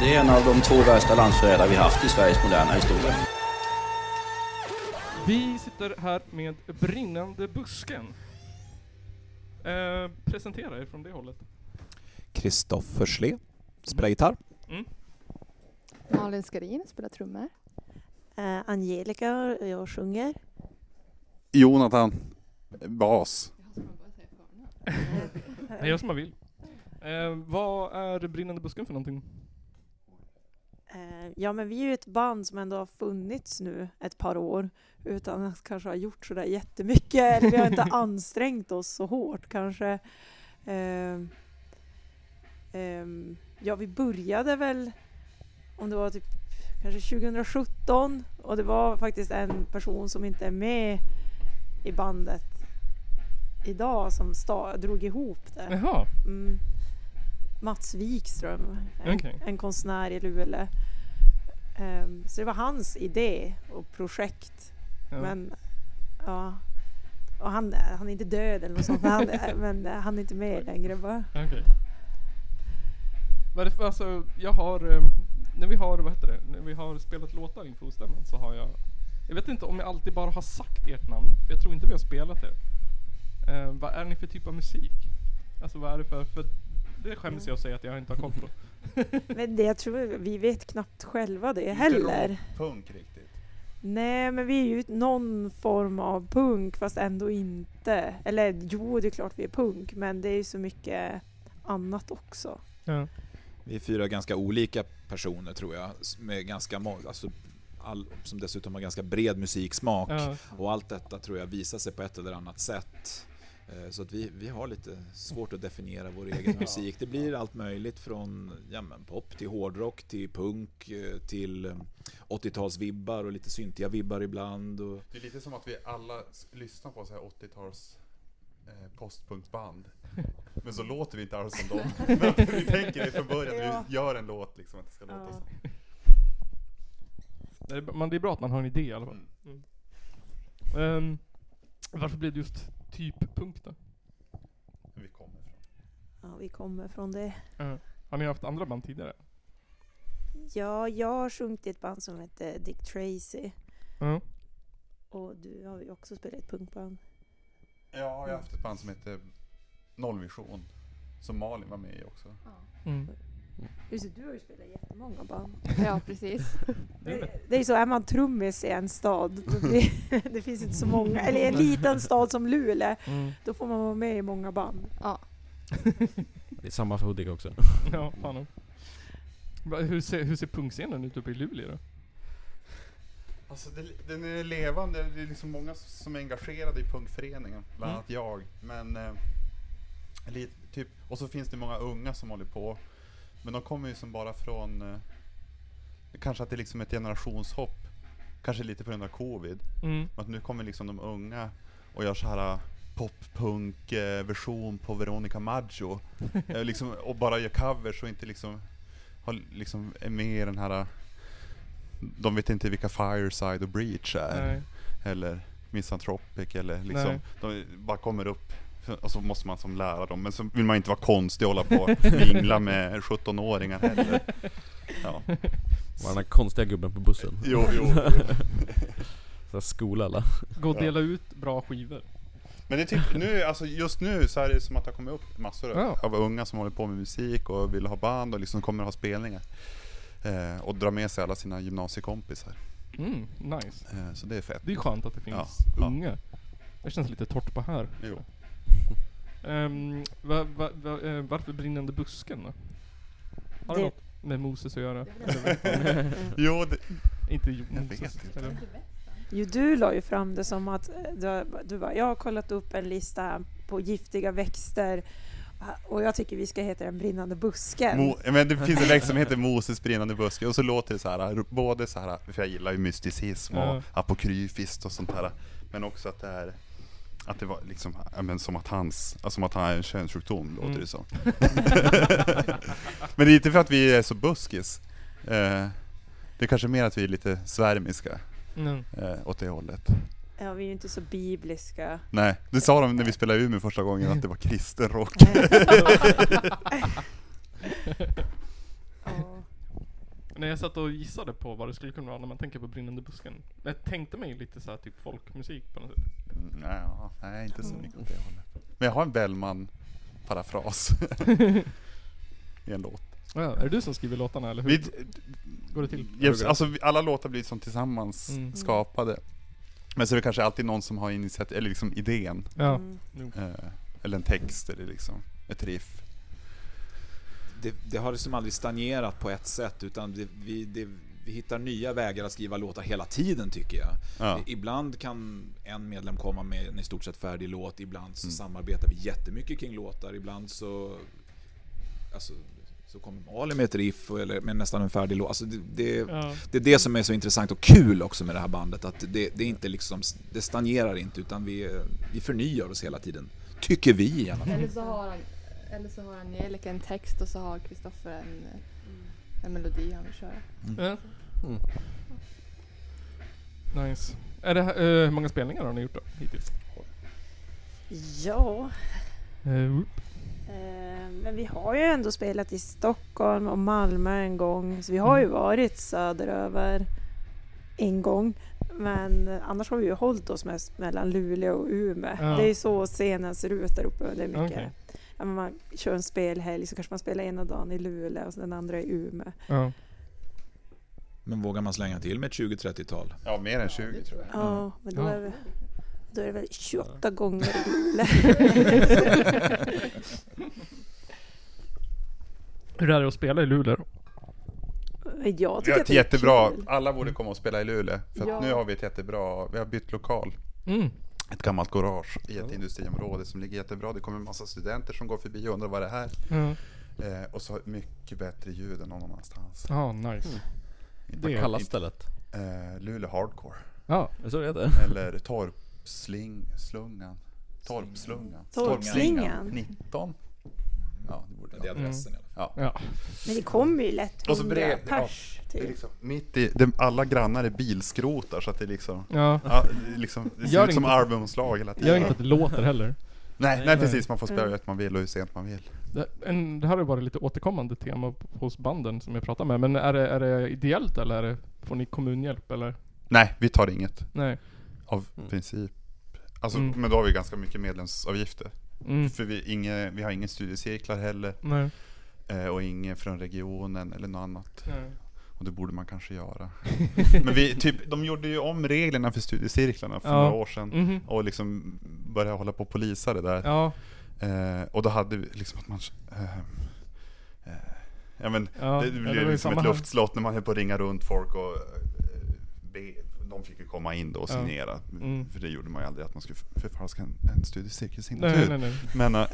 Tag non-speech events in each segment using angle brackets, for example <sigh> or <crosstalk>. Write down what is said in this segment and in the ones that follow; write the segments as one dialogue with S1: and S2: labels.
S1: Det är en av de två värsta landsförrädare vi haft i Sveriges moderna historia.
S2: Vi sitter här med Brinnande busken. Eh, presentera er från det hållet.
S3: Kristoffer Schlé, spelar gitarr.
S4: Malin Skarin spelar trummor.
S5: Eh, Angelica, jag sjunger.
S6: Jonathan, bas.
S2: Nej, gör som man vill. Eh, vad är Brinnande busken för någonting?
S5: Eh, ja, men vi är ju ett band som ändå har funnits nu ett par år utan att kanske ha gjort sådär jättemycket. Eller vi har inte ansträngt oss så hårt kanske. Eh, ehm, ja, vi började väl om det var typ kanske 2017 och det var faktiskt en person som inte är med i bandet idag som sta- drog
S2: <laughs>
S5: ihop det.
S2: Jaha,
S5: Mm. Mats Wikström, en,
S2: Okej.
S5: en konstnär i Luleå. Ehm, så det var hans idé och projekt.
S2: Ja.
S5: Men, ja. Och han, han är inte död eller något sånt, men han,
S2: <laughs>
S5: men han är inte med längre. Bara.
S2: okej. Vad är det för, alltså, jag har, eh, när vi har, vad heter det, när vi har spelat låtar inför ostämman så har jag, jag vet inte om jag alltid bara har sagt ert namn, för jag tror inte vi har spelat det. Eh, vad är ni för typ av musik? Alltså vad är det för, för det skäms jag att säga att jag inte har koll på.
S5: Men det, jag tror vi vet knappt själva det heller.
S6: Punk riktigt.
S5: Nej, men vi är ju någon form av punk fast ändå inte. Eller jo, det är klart vi är punk, men det är ju så mycket annat också.
S2: Ja.
S3: Vi är fyra ganska olika personer tror jag, s- med ganska må- alltså, all, som dessutom har ganska bred musiksmak.
S2: Ja.
S3: Och allt detta tror jag visar sig på ett eller annat sätt. Eh, Så att vi, vi har lite svårt att definiera vår egen musik. Det blir allt möjligt från ja, men pop till hårdrock till punk eh, till eh, 80-talsvibbar och lite syntiga vibbar ibland. Och,
S6: Det är lite som att vi alla s- lyssnar på så här 80-tals eh, postpunkband. Men så låter vi inte alls som dem. Men att vi tänker det från början när vi gör en låt liksom att det ska låta
S5: Ja.
S6: så.
S2: Det är, man, det är bra att man har en idé i alla fall.
S6: Mm.
S2: Ehm, varför blev det just typ punk då?
S6: Men vi kommer från.
S5: Ja, vi kommer från det.
S2: Har ni haft andra band tidigare?
S5: Ja, jag har sjungit i ett band som heter Dick Tracy.
S2: Ja.
S5: Och du har ju också spelat i ett punkband.
S6: Ja, jag har haft ett band som heter Nollvision. Som Malin var med i också.
S2: Mm.
S5: Just det, du har ju spelat i jättemånga band.
S4: Ja, precis.
S6: Mm.
S5: Det, det är ju så, är man trummis i en stad, då blir, <laughs> det finns inte så många, eller i en liten stad som Luleå,
S2: Mm.
S5: då får man vara med i många band.
S7: Det är samma för Hudik också.
S2: <laughs> Ja, fan om. Va, Hur ser, hur ser punkscenen ut uppe i Luleå då?
S6: Alltså det, den är levande, det är liksom många som är engagerade i punkföreningen, bland annat jag. Men, eh, lite, typ, och så finns det många unga som håller på, men de kommer ju som bara från, eh, kanske att det är liksom ett generationshopp, kanske lite på grund av covid.
S2: Mm.
S6: Att nu kommer liksom de unga och gör så här äh, poppunk-version på Veronica Maggio.
S2: <laughs>
S6: Eh, liksom, och bara gör covers och inte liksom, har, liksom är med i den här... eh, De vet inte vilka Fireside och Breach är.
S2: Nej.
S6: Eller Misanthropic eller liksom.
S2: Nej.
S6: De bara kommer upp och så måste man som lära dem. Men så vill man inte vara konstig och hålla
S2: <laughs>
S6: på och mingla med 17-åringar heller. Ja.
S7: Var den här konstiga gubben på bussen.
S6: Jo,
S2: <laughs>
S6: jo.
S7: Så här skola alla.
S2: Gå och dela ut bra skivor.
S6: Men det är typ nu, alltså just nu så är det som att det har kommit upp massor
S2: Ja.
S6: av unga som håller på med musik och vill ha band och liksom kommer att ha spelningar. Eh, och dra med sig alla sina gymnasiekompisar.
S2: Mm, nice.
S6: Eh, så det är fett.
S2: Det är skönt att det finns
S6: Ja, ja.
S2: unga. Det känns lite torrt på här.
S6: Jo.
S2: <laughs> Ehm, va, va, va, eh, varför brinnande busken då? Har det
S5: Det-
S2: något med Moses att <laughs> göra?
S6: Jo, det,
S2: Inte jo,
S6: Jag
S2: Moses.
S6: vet inte.
S2: eller?
S5: Jo, du la ju fram det som att eh, du, du bara, jag har kollat upp en lista här på giftiga växter och jag tycker vi ska heta den brinnande busken.
S6: Mo, men det finns en växt som heter Moses brinnande buske och så låter det så här, både så här, för jag gillar ju mysticism och
S2: Ja.
S6: apokryfiskt och sånt här. Men också att det är, att det var liksom, ja, men som att hans, alltså som att han är en könssjukdom låter
S2: Mm.
S6: det som. <laughs> men det är inte för att vi är så buskis. Eh, det är kanske mer att vi är lite svärmiska
S2: <laughs> Mm.
S6: eh, åt det hållet.
S5: Ja, vi är ju inte så bibliska.
S6: Nej, det sa de när vi spelade i Umeå första gången att det var kristen rock.
S5: Ja.
S2: När jag satt och gissade på vad det skulle kunna vara när man tänker på Brinnande busken. Jag tänkte mig lite så här typ folkmusik på något sätt.
S6: Mm, nej, ja, nej, inte så mycket åt det hållet. Men jag har en <laughs> Bellman-parafras i en låt.
S2: Ja, är det du som skriver låtarna eller hur
S6: Vi,
S2: går det till?
S6: Jeps, alltså, vi- alla låtar blir som tillsammans
S2: Mm.
S6: skapade. Men så är det kanske alltid någon som har initiativ, eller liksom idén.
S2: ja.
S5: Mm.
S6: Eh, eller en text eller liksom ett riff.
S3: Det, det har liksom aldrig stagnerat på ett sätt utan det, vi, det, vi hittar nya vägar att skriva låtar hela tiden tycker jag.
S6: Ja.
S3: Ibland kan en medlem komma med en i stort sett färdig låt, ibland så
S6: Mm.
S3: samarbetar vi jättemycket kring låtar, ibland så... Alltså, så kommer Malin med ett riff och- eller med nästan en färdig låt. Alltså det, det,
S2: Ja.
S3: det är det som är så intressant och kul också med det här bandet, att det, det är inte liksom, det stagnerar inte utan vi, vi förnyar oss hela tiden. Tycker vi i alla fall.
S4: Eller så har, eller så har Angelica en text och så har Kristoffer en, en melodi han vill köra.
S2: Ja.
S7: Mm.
S2: Nice. Är det, här- eh, hur många spelningar har ni gjort då hittills?
S5: Ja,
S2: Uh,
S5: eh, men vi har ju ändå spelat i Stockholm och Malmö en gång. Så vi har ju
S2: Mm.
S5: varit söderöver en gång. Men annars har vi ju hållit oss mest mellan Luleå och Umeå.
S2: Ja.
S5: Det är ju så scenen ser ut där uppe. Det är mycket.
S2: Okej.
S5: ja, men Man kör en spelhelg så kanske man spelar ena dagen i Luleå och så den andra i Umeå.
S2: ja.
S3: Men vågar man slänga till med ett 20-30-tal?
S6: Ja, mer än 20 tror jag.
S5: Ja, men då,
S2: Ja.
S5: Är, vi- då är det väl 28 gånger i <laughs> Luleå.
S2: Hur är det att spela i Luleå då?
S5: Jag
S6: Vi
S5: tycker
S6: har
S5: att
S6: ett
S5: det är
S6: jättebra,
S5: kul.
S6: alla borde komma och spela i Luleå. För att
S5: Ja.
S6: nu har vi ett jättebra, vi har bytt lokal.
S2: Mm.
S6: Ett gammalt garage i ett industriområde som ligger jättebra. Det kommer en massa studenter som går förbi och undrar vad det är.
S2: Ja,
S6: Eh, och så mycket bättre ljud än någon annanstans.
S2: ah, nice.
S7: Vad
S2: Det är
S7: kallas stället?
S6: Eh, Luleå <laughs> Hardcore.
S2: Ja.
S7: Är det så det heter?
S6: Eller Torpsling, slungan. Torpslungan.
S5: Torpslingan.
S6: 19. Ja, det borde
S3: Det är
S6: det.
S3: adressen i alla fall.
S6: Ja.
S2: Ja.
S5: Men det kommer ju lätt
S6: Och så
S5: 100
S6: brev- ja,
S5: pers.
S6: Det är
S5: Typ.
S6: liksom mitt i, det, alla grannar är bilskrotar så att det är <laughs> liksom,
S2: ja.
S6: ja, det, är liksom, det ser
S2: Gör
S6: ut som
S2: inte-
S6: albumslag hela tiden.
S2: Gör inte att det låter heller.
S6: nej, nej,
S2: nej.
S6: precis, man får spela hur högt man vill och hur sent man vill.
S2: Det, en, det här har varit lite återkommande tema p- hos banden som jag pratar med. Men är det, är det ideellt eller är det, får ni kommunhjälp eller?
S6: Nej, vi tar inget
S2: Nej.
S6: av princip. Alltså,
S2: Mm.
S6: Men då har vi ganska mycket medlemsavgifter.
S2: Mm.
S6: För vi, inge, vi har ingen studiecirklar heller
S2: Nej.
S6: eh, och ingen från regionen eller något annat.
S2: Nej.
S6: Och det borde man
S2: <laughs>
S6: kanske göra. Men vi, typ, de gjorde ju om reglerna för studiecirklarna för
S2: Ja.
S6: några år sedan.
S2: Mhm.
S6: Och liksom började hålla på och polisa det där.
S2: Ja.
S6: Eh, och då hade vi liksom att man... Eh, eh, ja men,
S2: Ja,
S6: det
S2: ja, det
S6: blev
S2: var ju
S6: ju som
S2: samma
S6: ett
S2: här.
S6: luftslott när man höll på att ringa runt folk och... Eh, be, de fick ju komma in då och
S2: Ja.
S6: signera.
S2: Mm.
S6: För det gjorde man ju aldrig, att man skulle förfalska en, en
S2: Nej,
S6: studiecirkelsignatur.
S2: nej, nej. <laughs>
S6: Men eh,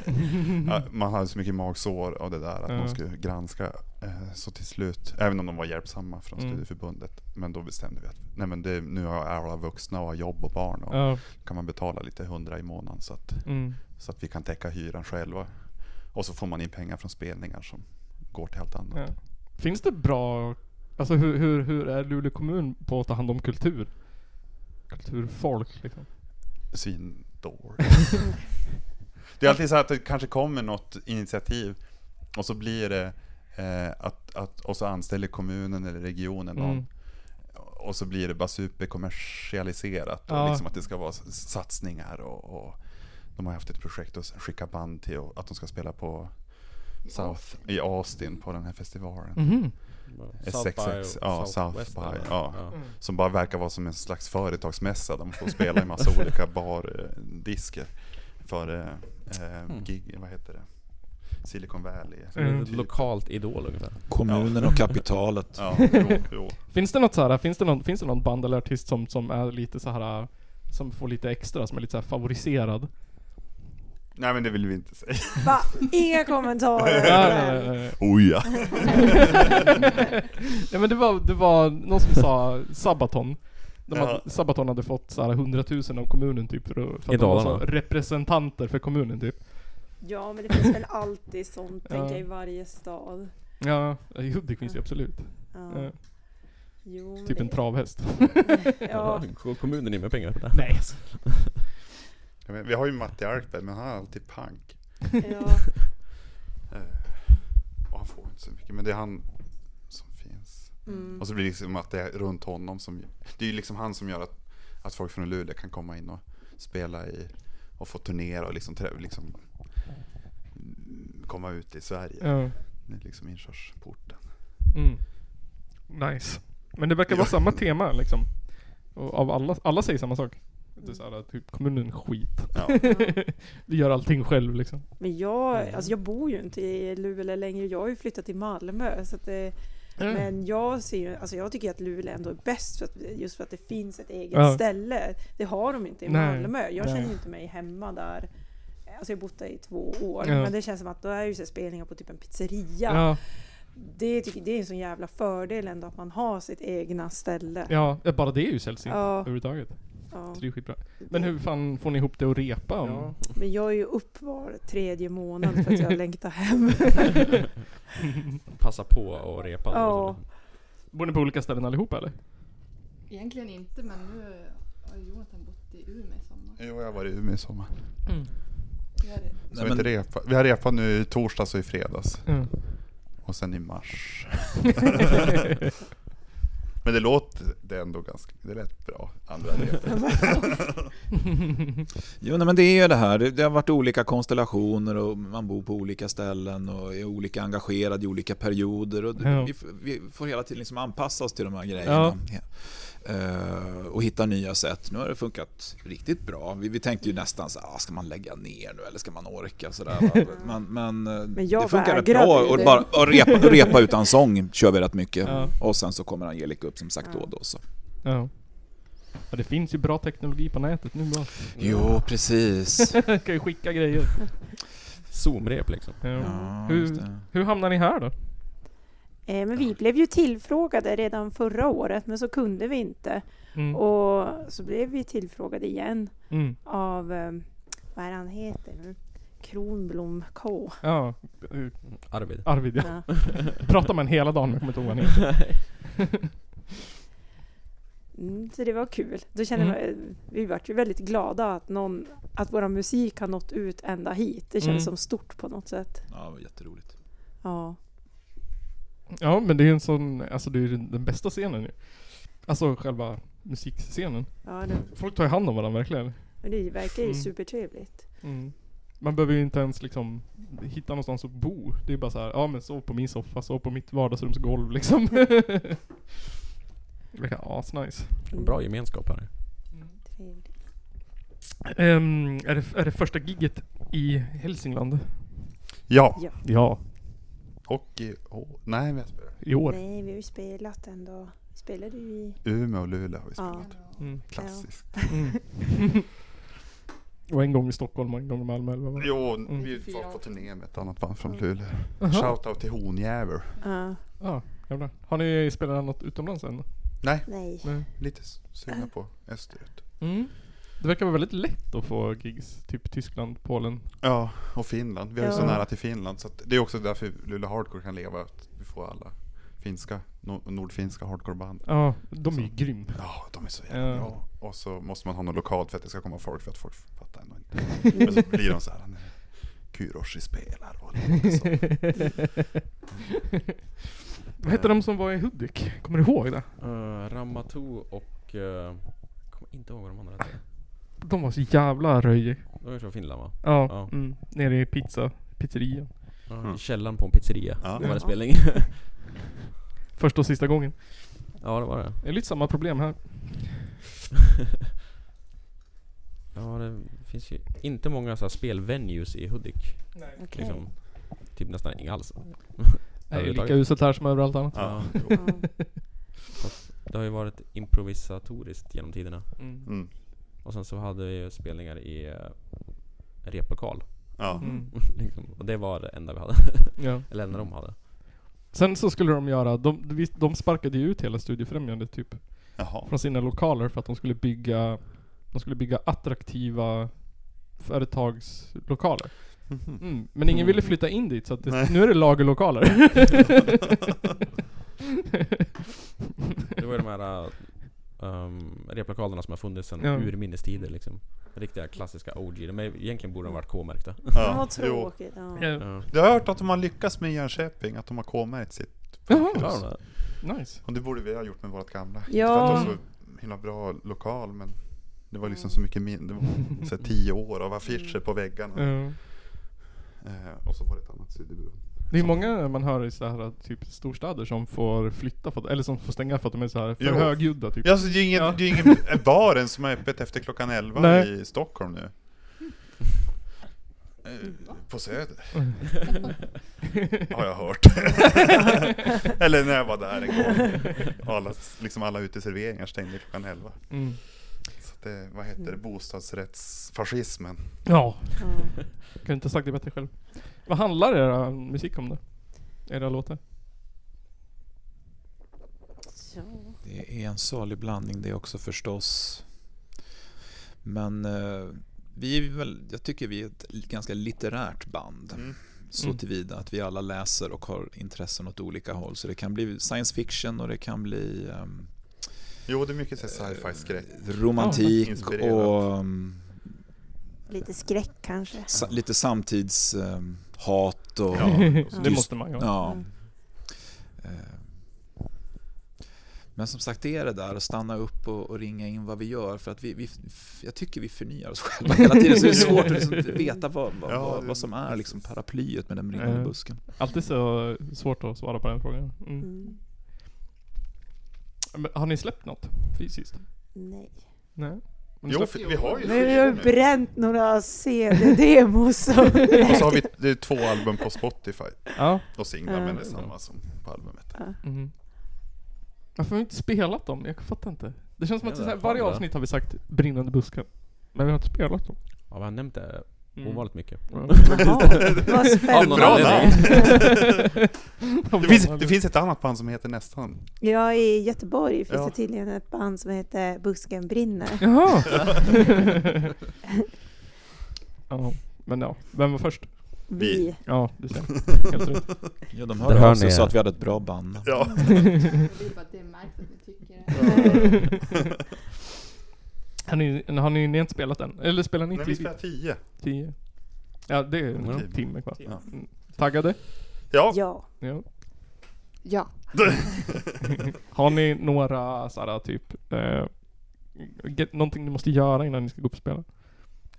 S6: ja, man hade så mycket magsår av det där att
S2: Ja.
S6: man skulle granska. Eh, så till slut, även om de var hjälpsamma från
S2: Mm.
S6: studieförbundet, men då bestämde vi att nej, men det, nu har alla vuxna och har jobb och barn och
S2: Ja.
S6: kan man betala lite hundra i månaden så att,
S2: Mm.
S6: så att vi kan täcka hyran själva. Och så får man in pengar från spelningar som går till allt annat.
S2: Ja. Finns det bra, alltså hur, hur, hur är Luleå kommun på att ta hand om kultur? Kulturfolk liksom. <laughs>
S6: Svindåligt. det är alltid så här att det kanske kommer något initiativ och så blir det eh, att, att, och så anställer kommunen eller regionen någon.
S2: Mm.
S6: Och så blir det bara superkommersialiserat.
S2: Ja.
S6: Och liksom att det ska vara s- satsningar och, och de har haft ett projekt att s- skicka band till och att de ska spela på South i Austin på den här festivalen.
S2: Mhm.
S6: SXX, ja, South
S7: Southwest,
S6: by,
S7: eller?
S6: ja. Som bara verkar vara som en slags företagsmässa. De får spela i massa olika bardisker. För eh, eh, gig, vad heter det? Silicon Valley.
S7: Så det är Ett
S2: Mm.
S7: lokalt idol ungefär.
S3: Kommunen och kapitalet.
S6: Ja, jo, jo.
S2: Finns det något så här, finns det någon, finns det någon band eller artist som, som är lite så här som får lite extra, som är lite så här favoriserad?
S6: Nej men det vill vi inte säga.
S5: Va? Inga
S2: <laughs>
S5: kommentarer.
S2: Ja, nej, nej, nej.
S6: Oj ja.
S2: <laughs> Nej men det var, det var någon som sa Sabaton. De hade,
S6: Ja.
S2: Sabaton hade fått så här 100 000 av kommunen typ för, att- för
S7: I
S2: att de var så
S7: Dalarna.
S2: representanter för kommunen typ.
S5: Ja, men det finns väl alltid sånt
S2: Ja.
S5: tänker jag i varje stad.
S2: Ja, i Hudik finns det absolut.
S5: Ja.
S2: Eh,
S5: Jo, men
S2: Typ en
S5: det-
S2: travhäst.
S5: Ja.
S7: Går kommunen in med pengar på det?
S2: Nej.
S6: Ja, men Vi har ju Matti Arkberg men han är alltid punk.
S5: ja.
S6: Eh, Och han får inte så mycket men det är han som finns.
S5: Mm.
S2: Alltså-
S6: Och så blir det liksom att det är runt honom som... Det är ju liksom han som gör att, att folk från Luleå kan komma in och spela i... Och få turnera och liksom, trä- liksom mm, komma ut i Sverige.
S2: Ja.
S6: Det är liksom inkörsporten.
S2: Mm. Nice. Men det verkar vara samma tema liksom. Och av alla, alla säger samma sak. Det är så här, typ kommunen är skit.
S6: Ja.
S2: Vi <laughs> gör allting själv liksom.
S5: Men jag, alltså jag bor ju inte i Luleå längre. Jag har ju flyttat till Malmö. Så att det,
S6: Mm.
S5: Men jag ser ju, alltså jag tycker att Luleå ändå är bäst för att, just för att det finns ett eget
S2: Ja.
S5: ställe. Det har de inte i
S2: Nej,
S5: Malmö. Jag
S2: nej.
S5: känner ju inte mig hemma där. Alltså jag har bott där i två år.
S2: Ja.
S5: Men det känns som att då är ju så här spelningar på typ en pizzeria.
S2: Ja,
S5: Det, tycker, det är en sån jävla fördel ändå att man har sitt egna ställe.
S2: ja, ja, bara det är ju sällsynt
S5: Ja.
S2: överhuvudtaget.
S5: Ja.
S2: Så det är skitbra. Men hur fan får ni ihop det att repa om?
S7: Ja.
S5: Men jag är ju upp var tredje månad för att
S2: <laughs>
S5: jag längtar hem.
S7: Passa på och repa.
S5: ja.
S2: Bor ni på olika ställen allihopa eller?
S4: Egentligen inte, men nu har Jonathan bott i Umeå i sommar.
S6: Jo, jag har varit i Umeå i sommar.
S4: Jag är det.
S6: Så vi, har inte repa. vi har repat nu i torsdags och i fredags.
S2: Mm.
S6: Och sen i mars. Men det låter det ändå ganska... Det lät bra. Andra repet.
S3: Jo, nej, men det är ju det här. Det, det har varit olika konstellationer och man bor på olika ställen och är olika engagerad i olika perioder. Och
S2: Ja.
S3: vi, f- vi får hela tiden liksom anpassa oss till de här grejerna. Ja. Eh, och hitta nya sätt. Nu har det funkat riktigt bra. Vi, vi tänkte ju nästan så här, ah, ska man lägga ner nu eller ska man orka? Så där, va? men men, eh,
S5: Men jag
S3: det funkar rätt
S5: vägrade
S3: bra.
S5: ju
S3: Och,
S5: det.
S3: bara, och repa,
S5: <laughs>
S3: repa utan sång kör vi rätt mycket.
S2: Ja.
S3: Och sen så kommer Angelica upp som sagt då och då. Så.
S2: Ja. ja. Det finns ju bra teknologi på nätet nu bara. <laughs>
S3: Jo, precis.
S2: Jag kan ju skicka grejer.
S7: Zoom-rep liksom.
S2: Ja.
S3: Ja, just
S2: hur,
S3: det.
S2: hur hamnar ni här då?
S5: Eh, Men vi blev ju tillfrågade redan förra året men så kunde vi inte.
S2: Mm.
S5: Och så blev vi tillfrågade igen
S2: Mm.
S5: av, eh, vad är han heter nu? Kronblom K.
S2: Ja,
S7: Arvid.
S2: Arvid ja.
S5: Ja.
S2: Pratar man hela dagen men jag kommer inte ihåg vad han heter.
S5: Mm, så det var kul. Då kände
S2: Mm.
S5: man, vi vart ju väldigt glada att, någon, att vår musik har nått ut ända hit. Det känns
S2: Mm.
S5: som stort på något sätt.
S3: Ja, jätteroligt.
S5: Ja.
S2: Ja men det är ju en sån, alltså det är ju den bästa scenen ju. Alltså själva musikscenen.
S5: Ja, det,
S2: Folk tar ju hand om varandra verkligen.
S5: men det verkar ju
S2: Mm.
S5: supertrevligt.
S2: Man behöver ju inte ens liksom hitta någonstans att bo. Det är bara så här, ja men sov på min soffa, sov på mitt vardagsrumsgolv liksom. <laughs> det verkar asnice.
S7: <laughs> Bra gemenskap här.
S5: Trevligt.
S2: Ehm, är, det, är det första gigget i Hälsingland?
S6: Ja.
S5: Ja.
S2: Ja,
S6: Och i... Oh, nej, men jag spelar.
S2: i år.
S5: Nej, vi har ju spelat ändå. Spelade ju i...
S6: Umeå och Luleå har vi spelat.
S5: Ja.
S2: Mm.
S6: Klassiskt.
S2: Mm. <laughs> och en gång i Stockholm och en gång i Malmö eller vad var det?
S6: Jo,
S2: Mm.
S6: vi var på turné med ett annat band
S5: Mm.
S6: från Luleå.
S2: Aha.
S6: Shoutout till Honjäver.
S5: Ja.
S2: Ja, Ah, jävlar. Har ni spelat något utomlands än?
S6: Nej,
S5: nej.
S6: lite
S5: Äh.
S6: sugna på österut.
S2: Mm. Det verkar vara väldigt lätt att få gigs, typ Tyskland, Polen.
S6: Ja, och Finland. Vi är ju så
S5: Ja.
S6: nära till Finland. Så att det är också därför Luleå Hardcore kan leva. Att vi får alla finska, no- nordfinska hardcoreband.
S2: Ja, de är ju grym.
S6: Ja, de är så jävla
S2: Ja.
S6: bra. Och så måste man ha något lokalt för att det ska komma folk, för att folk fattar ändå
S5: <laughs>
S6: inte. Men så blir de så här, "Nej, Kyroshi spelar och
S2: <laughs>
S6: låter så.
S2: Vad hette de som var i Hudik? Kommer du ihåg det?
S7: Uh, Ramatou och... Uh, jag kommer inte ihåg vad de andra hette.
S2: De var så jävla röj.
S7: De är från Finland va?
S2: Ja,
S7: Ja.
S2: Mm, nere i pizza, pizzerian.
S7: Ja,
S6: Mm.
S7: I källaren på en pizzeria.
S6: Ja.
S7: Det var
S5: Ja.
S7: en spelning.
S2: Första och sista gången.
S7: ja det var det.
S2: Det är lite samma problem här.
S7: Ja det finns ju inte många så här spelvenues i Hudik.
S5: Okej.
S7: Liksom. Typ nästan inga alls.
S2: Det är ju lika
S7: Överhuvudtaget.
S2: uselt här som överallt annat.
S6: Ja.
S5: Ja.
S7: Det har ju varit improvisatoriskt genom tiderna.
S2: Mm.
S6: Mm.
S7: Och sen så hade vi ju spelningar i eh, replokal.
S6: Ja.
S2: Mm.
S7: <laughs> liksom. Och det var det enda vi hade.
S2: Ja.
S7: Eller enda de hade.
S2: Sen så skulle de göra, de, vi- de sparkade ju ut hela Studiefrämjandet typ
S6: Jaha.
S2: från sina lokaler för att de skulle bygga, de skulle bygga attraktiva företagslokaler.
S6: Mhm.
S2: Mm. Men ingen ville
S7: Mm.
S2: flytta in dit så att det,
S6: Nej.
S2: nu är det lagerlokaler.
S7: <laughs> Det var ju de här um, replokalerna som har funnits sedan
S2: Ja.
S7: urminnes tider liksom. Riktiga klassiska OG. De är, egentligen borde de varit K-märkta.
S5: Ja, vad
S6: Jo.
S5: tråkigt. Ja.
S2: Ja.
S7: Ja.
S6: Du har hört att de har lyckats med Jönköping, att de har K-märkt sitt
S2: Jaha.
S6: hus.
S7: Ja, de där.
S2: Nice.
S6: Och det borde vi ha gjort med vårt gamla.
S5: Ja.
S6: För att det var så himla bra lokal men det var liksom så mycket mindre. Det var så här tio år av affischer på väggarna.
S2: Ja.
S6: Eh, och så var det ett annat sidobud.
S2: Det är många man hör i så här typ storstäder som får flytta, för att, eller som får stänga för att de är så här för
S6: Jo.
S2: högljudda typ. <laughs>
S6: Ja, alltså, det är ingen,
S2: Ja.
S6: det är ingen eh, bar ens som är öppet efter klockan 11
S2: Nej.
S6: i Stockholm nu. Eh, På Söder, har jag hört. <laughs> Eller när jag var där en gång. Alla, liksom alla uteserveringar stängde klockan 11.
S2: Mm.
S6: Så att det, vad heter
S5: Mm.
S6: det, bostadsrättsfascismen.
S2: Ja,
S5: Ja.
S2: kunde inte ha sagt det bättre själv. Vad handlar era musik om då? Era låtar?
S5: Ja.
S3: Det är en salig blandning det också förstås. Men eh, vi är väl, jag tycker vi är ett li- ganska litterärt band.
S6: Mm.
S3: Så
S2: Mm.
S3: tillvida att vi alla läser och har intressen åt olika håll. Så det kan bli science fiction och det kan bli ehm,
S6: Jo, det är mycket så här sci-fi skräck.
S2: Mm.
S3: romantik
S6: Inspirerat.
S3: och ehm,
S5: Lite skräck kanske.
S3: sa, lite samtidshat och...
S2: <laughs>
S6: Ja,
S2: det
S5: Just-
S2: måste man ju ha.
S3: Ja.
S5: Mm.
S3: Eh, Men som sagt, det är det där att stanna upp och, och ringa in vad vi gör. För att vi, vi, f- jag tycker vi förnyar oss själva hela tiden. Så det är svårt att liksom veta vad, vad,
S6: Ja,
S3: vad,
S6: det-
S3: vad som är liksom paraplyet med den brinnande
S2: Eh.
S3: busken.
S2: Alltid så svårt att svara på den frågan. Mm.
S5: Mm.
S2: Men har ni släppt något fysiskt?
S5: Nej.
S2: Nej? Men
S6: Jo,
S2: släpp-
S6: för vi har ju
S5: Men vi har ju
S6: nu.
S5: bränt några CD-demos. <laughs> och-
S6: Och så har vi det är två album på Spotify
S2: Ja.
S6: och singlar,
S5: Ja.
S6: men det är samma som på albumet.
S2: Mm. Varför har vi inte spelat dem? Jag fattar inte. Det känns som att
S7: Ja,
S2: så här,
S7: fan,
S2: varje
S7: det.
S2: avsnitt har vi sagt brinnande busken. Men vi har inte spelat dem.
S7: Ja, vi har nämnt det
S2: Mm.
S7: ovanligt mycket.
S5: Jaha, Vad
S7: Av någon
S2: <laughs>
S5: spännande. <laughs>
S7: anledning.
S6: Det finns, det finns ett annat band som heter nästan.
S5: Ja, i Göteborg finns
S6: Ja.
S5: det tydligen ett band som heter Busken brinner.
S2: Jaha! <laughs> ja, men ja. Vem var först?
S5: Vi.
S2: Ja, du
S6: <laughs>
S2: ser. Helt rätt.
S3: Ja, de
S7: Där
S3: hörde
S7: hör
S3: av sig
S7: ni.
S3: och sa att vi hade ett bra band.
S6: Ja.
S4: Det är bara att det märks att ni tycker det.
S2: <laughs> Har ni, har ni, ni har inte spelat än? Eller spelar ni
S6: När vi
S2: tidigt?
S6: spelar 10.
S2: Tio? Ja, det är en
S7: Ja.
S2: timme kvar.
S6: Ja.
S2: Mm. Taggade?
S6: Ja.
S5: Ja.
S2: Ja. <laughs>
S4: Ja.
S2: Har ni några såhär typ, eh, get, någonting ni måste göra innan ni ska gå upp och spela?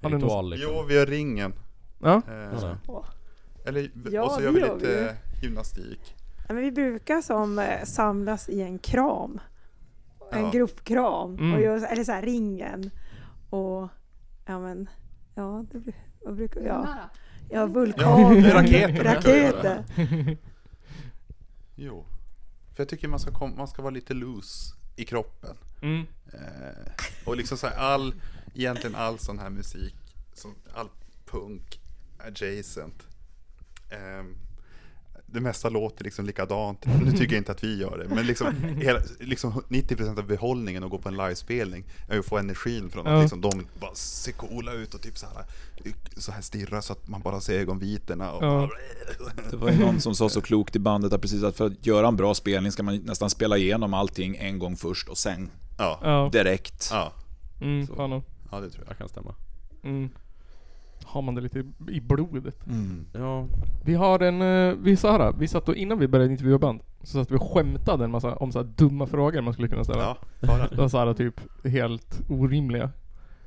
S2: Har ni någon-
S7: Ritual liksom.
S6: Jo, vi har ringen.
S2: Ja?
S6: Eh,
S7: Ja.
S6: Eller,
S5: Ja,
S6: och så
S5: det
S6: gör vi
S5: gör vi
S6: lite gymnastik.
S5: Ja, Men vi brukar som eh, samlas i en kram. En
S6: Ja.
S5: gruppkram.
S2: Mm.
S5: Och gör, eller så här ringen. Och ja men, ja det bru- vad brukar vi ha?
S4: Nära.
S5: Ja,
S6: Ja,
S5: vulkaner.
S6: det är raketer.
S5: Raketer.
S6: Jo. För jag tycker man ska, kom, man ska vara lite loose i kroppen.
S2: Mm.
S6: Eh, och liksom så här all, egentligen all sån här musik, som, all punk adjacent. Ehm, det mesta låter liksom likadant, nu tycker jag inte att vi gör det, men
S2: <laughs>
S6: liksom, hela, liksom 90% av behållningen att gå på en livespelning är att få energin från att
S2: Ja.
S6: liksom, de bara ser coola ut och typ så här, så här stirrar så att man bara ser ögonvitorna. Och
S2: Ja.
S3: Det var ju någon som sa så klokt i bandet att precis att för att göra en bra spelning ska man nästan spela igenom allting en gång först och sen
S6: <laughs> ja.
S2: Ja.
S3: direkt.
S6: Ja.
S2: Mm, fan om.
S6: ja, det tror jag.
S7: Jag kan stämma.
S2: Mm. Har man det lite i- i blodet?
S7: Ja,
S2: Vi har en, eh, vi sa här, vi satt då innan vi började intervjua band, så satt vi och skämtade en massa om så här dumma frågor man skulle kunna ställa.
S6: Ja, bara.
S2: Det var så här typ helt orimliga.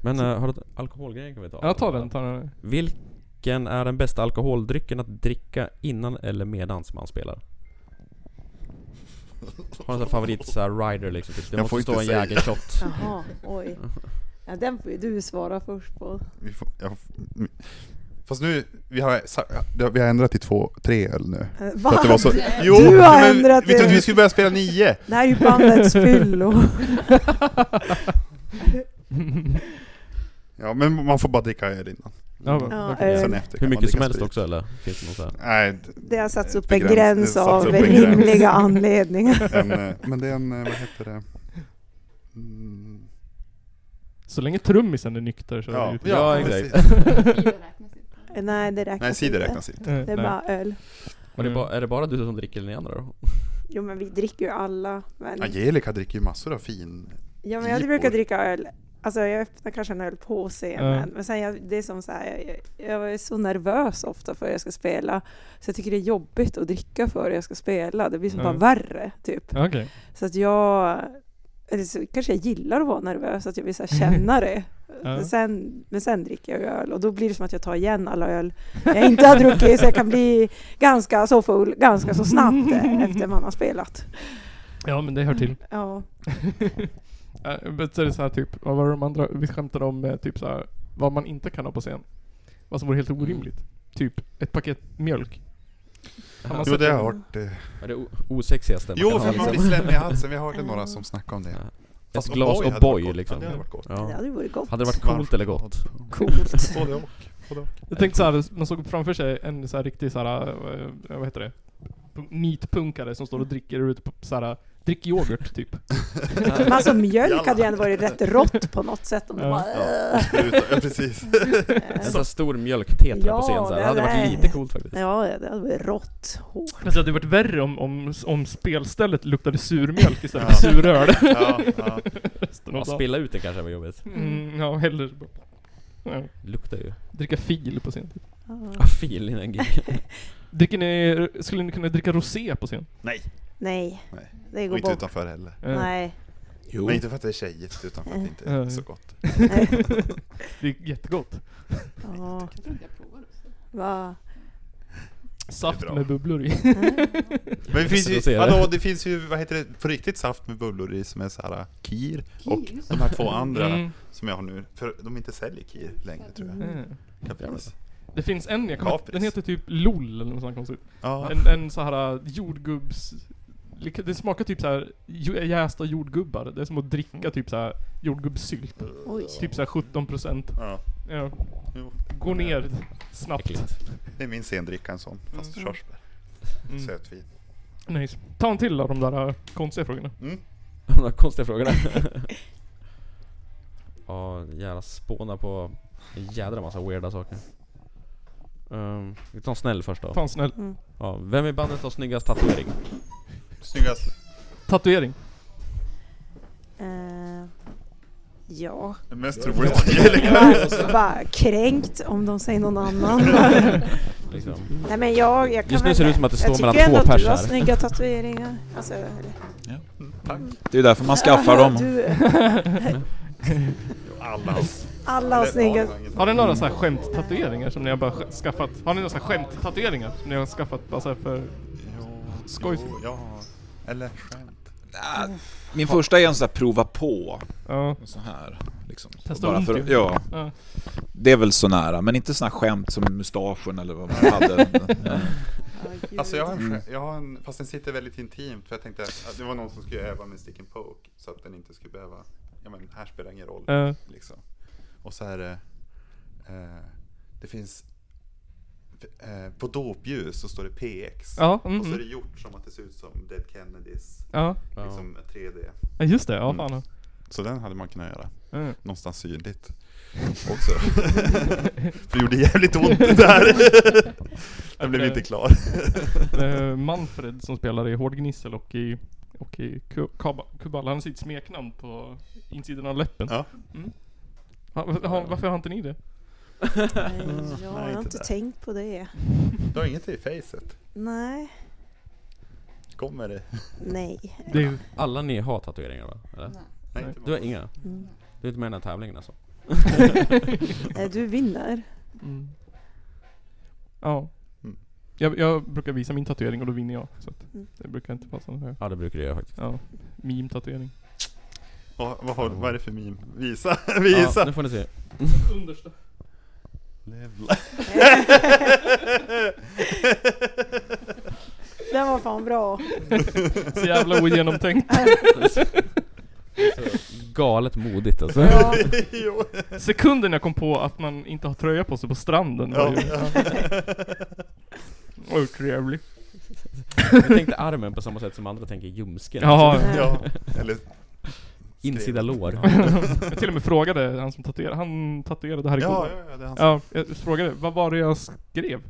S7: men eh, har du alkoholgrejen kan vi ta?
S2: Ja, ta den, ta den.
S7: Vilken är den bästa alkoholdrycken att dricka innan eller medans man spelar? Har du en favorit så här rider liksom? Typ. Det
S6: Jag får
S7: måste
S6: inte
S7: stå en
S6: säga.
S7: jägershot.
S5: Jaha, oj. Ja, den får ju du svara först på.
S6: Vi får, jag, får- fast nu, vi har, sa- det har- vi har ändrat till två, tre öl nu.
S5: Eh,
S6: För att det
S5: <laughs>
S6: var så, jo,
S5: Du har
S6: men
S5: ändrat
S6: vet du, att
S5: det.
S6: Vi skulle börja spela nio.
S5: Det här är ju bandets
S6: <laughs>
S5: fyllo.
S6: Ja, men man får bara dricka öl innan.
S2: Ja, men-
S5: Ja,
S2: okej.
S5: eh,
S6: Sen efter
S7: <laughs> Hur
S6: kan man
S7: mycket som
S6: dricka
S7: helst
S6: sprit.
S7: också eller? Finns det någon så här?
S6: Nej, d-
S5: Det har satts upp en
S6: Begräns- det
S5: gräns
S6: satts
S5: av
S6: upp en gräns.
S5: rimliga <laughs> anledningar.
S6: en, eh, men det är en, eh, vad heter det? Mm,
S2: Så länge trummisen är nykter så är det ju... typ-
S7: Ja,
S6: precis.
S5: <laughs>
S4: Tio räknas inte.
S5: Nej, det räknas
S6: Nej, cider
S5: inte.
S6: räknas inte.
S2: Eh,
S5: Det
S2: nej.
S5: är bara öl.
S7: Var det ba, är det bara du som dricker eller ni andra då?
S5: Jo, men vi dricker ju alla. Men...
S6: Angelica dricker ju massor av fin...
S5: Ja, men jag
S6: Jippo.
S5: brukar dricka öl Alltså jag öppnar kanske en öl på scenen. Men sen jag, det är som så här, jag, jag är så nervös ofta för att jag ska spela. Så jag tycker det är jobbigt att dricka för att jag ska spela. Det blir som
S2: Mm.
S5: bara värre typ.
S2: Okej.
S5: Så att jag, eller så kanske jag gillar att vara nervös, att jag vill så här känna det.
S2: Ja.
S5: Men, sen, men sen dricker jag ju öl och då blir det som att jag tar igen alla öl jag inte har druckit så jag kan bli ganska så full ganska så snabbt eh, efter man har spelat.
S2: Ja men det hör <laughs> till.
S5: Ja.
S2: Eh, Men så är det så här typ, vad var de andra, vi skämtade om eh, typ så här, vad man inte kan ha på scen. Vad som vore helt orimligt. Typ ett paket mjölk. Kan man
S6: Jo,
S2: sätta-
S6: det har jag hört. eh.
S7: Är det o- osexigaste
S6: Jo,
S7: man
S6: för
S7: kan ha
S6: man blir
S7: liksom?
S6: slemmig i halsen. Vi hörde några som snackade om det.
S7: Ja. Ett
S6: Fast
S7: glas
S6: O'boy hade varit gott.
S7: O'boy
S6: Ja,
S7: liksom.
S6: det hade varit gott.
S5: det
S7: Ja.
S5: hade varit gott.
S7: Hade det varit coolt eller gott?
S5: Coolt.
S6: Både <laughs> och. Både och.
S2: Jag tänkte så här, man såg framför sig en så här riktig så här, eh, vad heter det? Punk- Nitpunkare som står och dricker ute på så här, drick yoghurt typ.
S5: Men <laughs> alltså mjölk hade ju ändå varit rätt rått på något sätt om det
S2: Ja.
S5: bara...
S6: Ja, spruta. Ja, precis.
S7: En sån här stor mjölktetra
S5: Ja,
S7: på scen så här.
S5: det
S7: Det hade
S5: hade-
S7: varit lite coolt faktiskt.
S5: Ja, det hade varit rått. Hårt.
S2: Men så hade Alltså, det varit värre om, om, om spelstället luktade surmjölk istället för
S6: <laughs>
S2: suröl.
S6: Ja, ja.
S2: resten av dagen.
S7: Ja, spilla ut det kanske var jobbigt.
S2: Mm, ja, hellre ja,
S7: Det luktar ju.
S2: dricka fil på scen.
S5: Ja.
S7: Ah, fil innan <laughs> gig.
S2: Dricker ni, skulle ni kunna dricka rosé på scen?
S6: Nej,
S5: Nej,
S6: Nej.
S5: det
S6: och
S5: går
S6: inte
S5: bort.
S6: utanför heller.
S2: Eh,
S5: Nej.
S3: Jo.
S6: Men inte för att det är tjejigt, utan för att det inte är så gott.
S2: Det är jättegott.
S5: Ja.
S4: Jag tror inte jag provar det.
S5: Va?
S2: Saft
S6: Det är bra.
S2: med bubblor i.
S6: Men det finns
S7: Så ser
S6: ju,
S7: jag
S6: vadå, det finns ju, vad heter det, på riktigt saft med bubblor i som är så här äh, kir. Och
S4: Kir?
S6: de här två <laughs> andra
S2: Mm.
S6: som jag har nu, för de inte säljer kir längre tror
S5: Mm.
S6: jag.
S2: Eh.
S6: Kapris.
S2: Det finns en, jag kommer,
S6: Kapris.
S2: den heter typ LOL eller något sånt konstigt.
S6: Ja.
S2: En, en så här äh, jordgubbs... lika- Det smakar typ så här ju- jästa jordgubbar. Det är som att
S6: Mm.
S2: dricka typ så här jordgubbssylt.
S5: Oj.
S2: Typ så här 17 procent.
S6: ja.
S2: Ja.
S6: Jo,
S2: Går ner snabbt.
S7: Äckligt.
S6: det är min sendricka en sån, fast körsbär.
S2: Mm.
S6: Sötvin.
S2: Nice. Ta en till av de där äh, konstiga frågorna.
S6: Mm.
S7: <laughs> De där konstiga frågorna. Ja, jävla spåna på en jädra massa weirda saker. Ehm, vi tar en snäll först då.
S2: Ta en snäll.
S7: Ja, vem i bandet har snyggast tatuering?
S6: Snyggast.
S2: Tatuering.
S5: Eh, ja.
S6: Det Mest troligt <laughs> att Angelica.
S5: Bara, bara kränkt om de säger någon
S7: <laughs>
S5: annan.
S7: Liksom.
S5: Nej men jag, jag kan
S7: Just nu
S5: väl-
S7: ser det ut som att det står
S5: jag tycker
S7: mellan
S5: ändå
S7: två
S5: att
S7: pers
S5: du har
S7: här.
S5: snygga tatueringar. Alltså, eller-
S3: Det är därför man skaffar dem.
S5: Du,
S6: Alla hans.
S5: alla har snygga...
S2: Har ni några så här skämt-tatueringar som ni har bara sk- skaffat? Har ni några så här skämt-tatueringar som ni har skaffat bara så här för... Skoj.
S6: Jo, ja. Eller skämt.
S3: Ah, Min första är en sån här prova på.
S2: Ja.
S3: Så här. Liksom.
S2: Testa
S3: Bara
S2: ont
S3: för,
S2: ju.
S3: ja,
S2: ja.
S3: det är väl så nära. Men inte såna här skämt som mustaschen eller vad
S2: <laughs>
S3: man hade.
S6: Alltså jag har,
S2: Mm.
S6: en, skär- jag har en, fast den sitter väldigt intimt för jag tänkte att det var någon som skulle öva med stick and poke så att den inte skulle behöva, ja men här spelar det ingen roll
S2: Ja.
S6: liksom. Och så är det, eh, det finns, eh, på dopljus så står det PX
S2: Ja,
S6: och så är Alltså, det
S2: mhm.
S6: gjort som att det ser ut som Dead Kennedys,
S2: ja.
S6: liksom 3D.
S2: Ja, just det. Ja, fan.
S6: Så den hade man kunnat göra,
S2: <laughs> Ja.
S6: någonstans synligt <laughs> också.
S2: Eh,
S6: för det gjorde jävligt ont det <laughs> där. den blev inte klar.
S2: Eh, Manfred som spelar i Hård Gnissel och i, och i Ku- Kaba- Kubal, han har sitt smeknamn på insidan av läppen.
S6: Ja.
S2: Mm. Ha, ha, varför har inte ni det?
S5: Nej, jag
S6: Nej,
S5: har
S6: inte
S5: inte
S6: där.
S5: tänkt på det.
S6: Du har inget i facet.
S5: Nej.
S6: Kommer det?
S5: Nej.
S2: Det är,
S7: Alla ni har tatueringar va? Eller?
S6: Nej,
S2: Nej.
S6: inte
S7: Du har
S6: många.
S7: inga?
S5: Mm.
S7: Du är inte med i den här tävlingen alltså?
S5: Eh, Du vinner.
S2: mm. Ja.
S6: Mm.
S2: Jag, jag brukar visa min tatuering och då vinner jag. Så att
S5: Mm.
S2: det brukar inte vara sånt här.
S7: Ja det brukar du göra faktiskt.
S2: Ja. Meme-tatuering.
S6: Vad, vad, har, vad är det för meme? Visa, <laughs>
S7: Ja,
S6: visa!
S7: nu får ni se.
S2: Understa.
S6: Lev life.
S5: Den var fan bra.
S2: Så jävla
S6: <laughs>
S2: ogenomtänkt.
S7: Galet modigt <laughs> alltså.
S5: Ja.
S6: jo.
S2: Sekunden jag kom på att man inte har tröja på sig på stranden var
S6: Ja.
S2: ju... <laughs> Oj, trevlig.
S7: Jag tänkte armen på samma sätt som andra tänker ljumsken.
S2: Jaha.
S6: ja, eller
S7: Insida lår.
S2: Jag till och med frågade han som tatuerade, han tatuerade här igår.
S6: ja, ja, ja, det är han som-
S2: Ja, jag frågade vad var det jag skrev?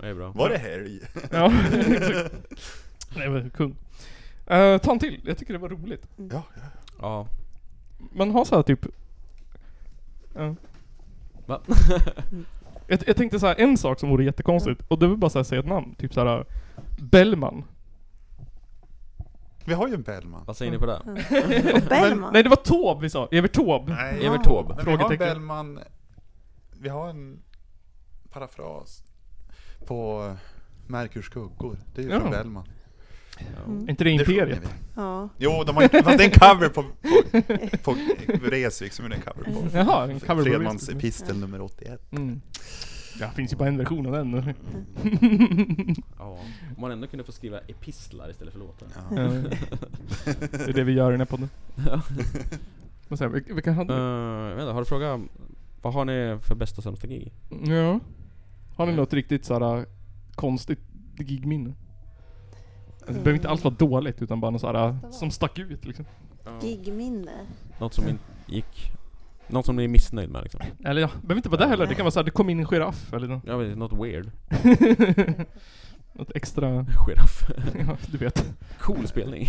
S7: Det är bra.
S6: Var det helg?
S2: Ja, <laughs> exakt. Nej men kung. Eh, ta en till, jag tycker det var roligt.
S6: Ja,
S7: Ja.
S2: man har så här typ... Ja.
S7: Va?
S2: <laughs> jag, jag tänkte så här en sak som vore jättekonstigt, och det var bara så här, säga ett namn. Typ så här Bellman.
S6: Vi har ju en Bellman.
S7: Vad säger ni på det?
S5: Och Bellman?
S2: Nej det var Taube vi sa, Evert Taube.
S6: Nej,
S7: Evert Taube.
S6: Men vi har en
S2: Frågetecken.
S6: Bellman. Vi har en parafras på Merkurs skuggor. Det är ju
S2: Ja.
S6: från Bellman.
S2: Är inte det
S6: Det sjunger
S2: Imperiet?
S6: vi.
S5: Ja.
S6: Jo, de har inte, fast det är en cover på, på, på Vreeswijk som är en cover
S2: <laughs>
S6: på.
S2: Jaha, en cover på
S6: Fredmans
S2: Vreeswijk.
S6: epistel nummer 81.
S2: Mm. Ja, det finns ju bara en version av den.
S7: Ja. Om man ändå kunde få skriva epistlar istället för låtar.
S2: <laughs> Ja. det är det vi gör i den här podden.
S6: <laughs>
S7: Ja.
S2: Men så här, vi, vi kan ha
S7: Eh, vänta, har du frågat vad har ni för bästa och sämsta gig?
S2: Ja. Har ni något riktigt såhär konstigt gigminne? Alltså, det
S5: Mm.
S2: behöver inte alls vara dåligt utan bara något såhär som stack ut liksom.
S5: Gigminne?
S7: Något som inte gick... Något som ni är missnöjd med liksom?
S2: Eller ja, behöver inte vara det heller. Det kan vara såhär, det kom in en giraff eller något. <laughs>
S7: Jag vet inte, något weird.
S2: något extra,
S7: Giraff.
S2: <laughs> ja, du <laughs> vet.
S7: Cool spelning.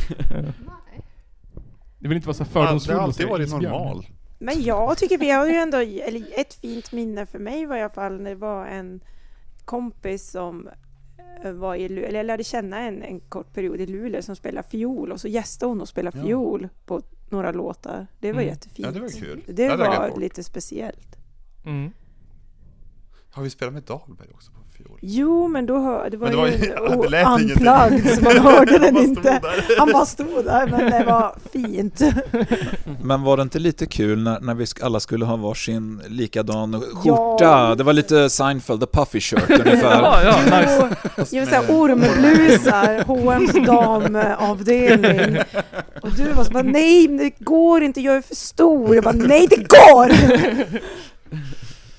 S2: Det vill inte vara såhär
S6: Det
S2: fördomsfull
S6: har
S2: och
S6: alltid
S2: säga
S6: varit
S2: isbjörn.
S6: normal.
S5: Men jag tycker vi har ju ändå, eller ett fint minne för mig var i alla fall när det var en kompis som eh, var i Luleå, eller jag lärde känna en, en kort period i Luleå som spelade fiol och så gästade hon och spelade
S6: Ja.
S5: fiol på några låtar. Det var
S2: Mm.
S5: jättefint.
S6: Ja, det var kul.
S5: Det
S6: hade jag glömt
S5: var
S6: bort.
S5: lite speciellt.
S2: Mm.
S6: Har vi spelat med Dahlberg också på fiol?
S5: Jo, men då hör, det var,
S6: Men det var
S5: ju,
S6: <laughs> ju-
S5: en
S6: det lät
S5: o-
S6: ingenting.
S5: unplugged så man hörde den
S6: <laughs> Man stod
S5: inte.
S6: där.
S5: Han bara stod där, men det var fint.
S3: Men var det inte lite kul när, när vi sk- alla skulle ha varsin likadan skjorta?
S5: Ja.
S3: Det var lite Seinfeld, the puffy shirt
S2: <laughs>
S3: ungefär.
S2: Ja, ja, nice.
S5: Jo, jag vill säga <laughs> ormblusar, H&M's damavdelning. Och du var så bara, nej men det går inte, jag är för stor. Jag bara, nej det
S6: <laughs>
S5: går! Oh,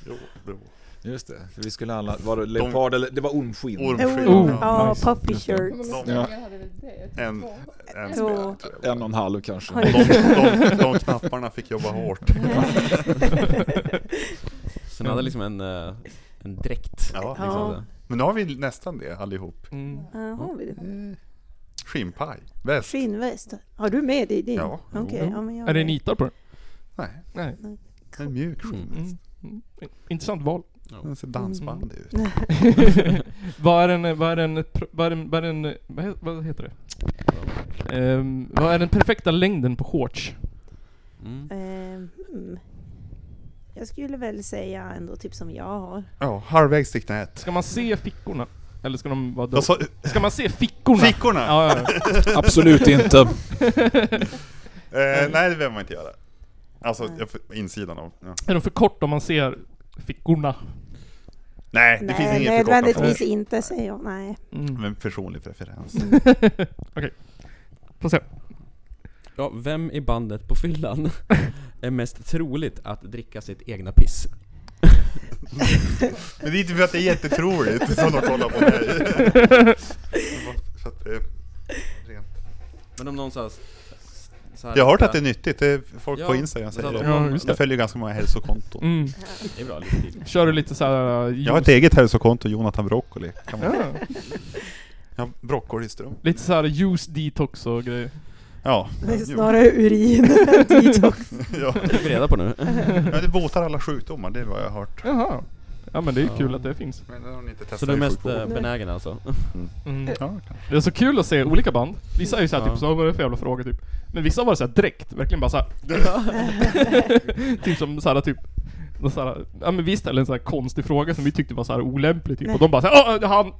S6: Jo, det var
S3: Just det, för vi skulle alla, var det leopard eller, det var ormskinn.
S6: ormskinn.
S2: Oh.
S5: Ja,
S2: nice.
S5: puppy shirts.
S3: Ja.
S6: De,
S4: Jag hade väl det? Jag
S6: En-
S4: tyckte två.
S6: en
S5: Jo.
S6: spelare, tror jag.
S3: En och en halv kanske.
S5: Har du-
S6: De, de, de knapparna fick jobba hårt.
S5: <laughs>
S7: Sen hade jag <laughs> liksom en, eh, en dräkt.
S6: Ja,
S7: liksom.
S5: Ja.
S6: Men nu har vi nästan det allihop.
S2: Mm.
S5: Ja, har vi det?
S6: Skinnpaj. Väst.
S5: Skinnväst. Har du med dig din?
S6: Ja.
S5: Okej, ja, men jag
S2: Är det nitar på den?
S6: Nej,
S2: Nej.
S6: en mjuk
S2: Mm.
S6: skinnväst.
S2: Mm. Intressant val.
S6: Den ser dansbandig
S5: Mm.
S6: ut.
S2: <laughs> vad är en, vad är en, pr- vad är en, vad är en, vad he- vad heter det? Ehm, vad är den perfekta längden på shorts?
S7: Mm.
S5: Ehm, mm. Jag skulle väl säga ändå typ som jag har.
S6: Ja, halvvägs till knät.
S2: Ska man se fickorna? Eller ska de vara då?
S6: Jag sa,
S2: Ska man se fickorna?
S6: fickorna!
S2: Ja, ja, <laughs> ja.
S3: Absolut inte.
S6: Eh, nej, det behöver man inte göra. Alltså, jag får- insidan av. Ja.
S2: Är de för kort om man ser fickorna?
S6: Nej, det finns
S5: Nej,
S6: ingen förkortning.
S5: nödvändigtvis inte säger jag. Nej.
S2: Mm. <laughs>
S6: Men personlig preferens.
S2: Får se.
S7: Ja, vem i bandet på fyllan <laughs> är mest troligt att dricka sitt egna piss?
S6: Men det är inte för att det är jättetroligt som de kollar på mig. För att det är rent.
S7: Men om någon så här, så här
S6: Jag har hört att det är nyttigt. Det är folk
S7: Ja,
S6: på Instagram säger
S7: så att
S6: det.
S7: de-
S2: Ja, just
S6: Jag följer ganska många hälsokonton.
S2: Mm.
S7: Det är bra livsstil.
S2: Kör du lite såhär... Uh,
S6: Jag har ett eget hälsokonto, Jonathan Broccoli. Kan man...
S2: ja.
S6: Jag har broccolistrump.
S2: Lite såhär juice detox och grejer.
S6: Ja.
S5: Det är
S6: jo.
S5: snarare urin.
S6: <laughs>
S5: <laughs> detox.
S6: ja.
S7: Det får vi reda på nu.
S6: Men det botar alla sjukdomar, det är vad jag har hört.
S2: Jaha. Ja men det är ju
S7: Ja.
S2: kul att det finns.
S6: Men det har ni inte testat
S7: Så du är
S6: i
S7: mest
S6: sjukvården.
S7: eh, benägen alltså?
S2: Mm.
S6: Ja, kanske.
S2: Det är så kul att se olika band. Vissa är ju såhär
S7: Ja.
S2: typ så, vad är det för jävla fråga typ? Men vissa var det såhär direkt, verkligen bara såhär... typ som såhär typ... någon Såhär, ja men vi ställde en sån här konstig fråga som vi tyckte var såhär olämplig typ, och de bara såhär "Ah, han!
S6: ja,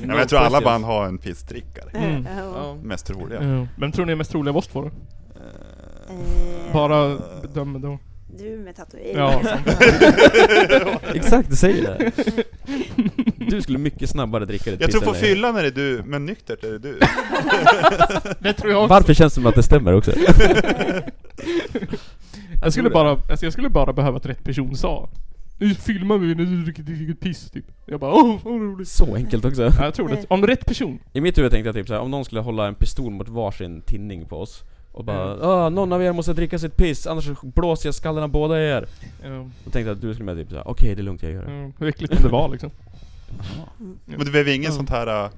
S6: men jag tror alla band har en pissdrickare.
S2: Mm.
S5: Ja.
S6: Mest troliga.
S2: Ja. Vem tror ni är mest trolig av oss två då?
S5: Eh,
S2: Bara bedöm då.
S5: Du med tatuering.
S2: Ja. <laughs>
S7: Exakt, du säger det! Du skulle mycket snabbare dricka ditt
S6: Jag
S7: piss
S6: tror på
S7: än mig.
S6: fyllan är det du, men nyktert är det du.
S2: Det tror jag också.
S7: Varför känns det som att det stämmer också?
S2: <laughs> Jag skulle
S7: tror
S2: bara, alltså jag skulle bara behöva att rätt person sa Nu filmar vi när du dricker dricker piss typ. Jag bara åh vad roligt.
S7: Så enkelt också.
S2: Ja, jag tror det. Om rätt person.
S7: I mitt huvud tänkte jag typ såhär, om någon skulle hålla en pistol mot varsin tinning på oss och bara
S2: Mm.
S7: ah, någon av er måste dricka sitt piss, annars blåser jag skallen av båda er.
S2: Ja,
S7: Då tänkte jag att du skulle med typ
S2: Mm.
S7: såhär, okej det är lugnt jag gör det.
S2: ja, hur äckligt kan det vara liksom?
S6: Men det blev ingen sånt här... äh,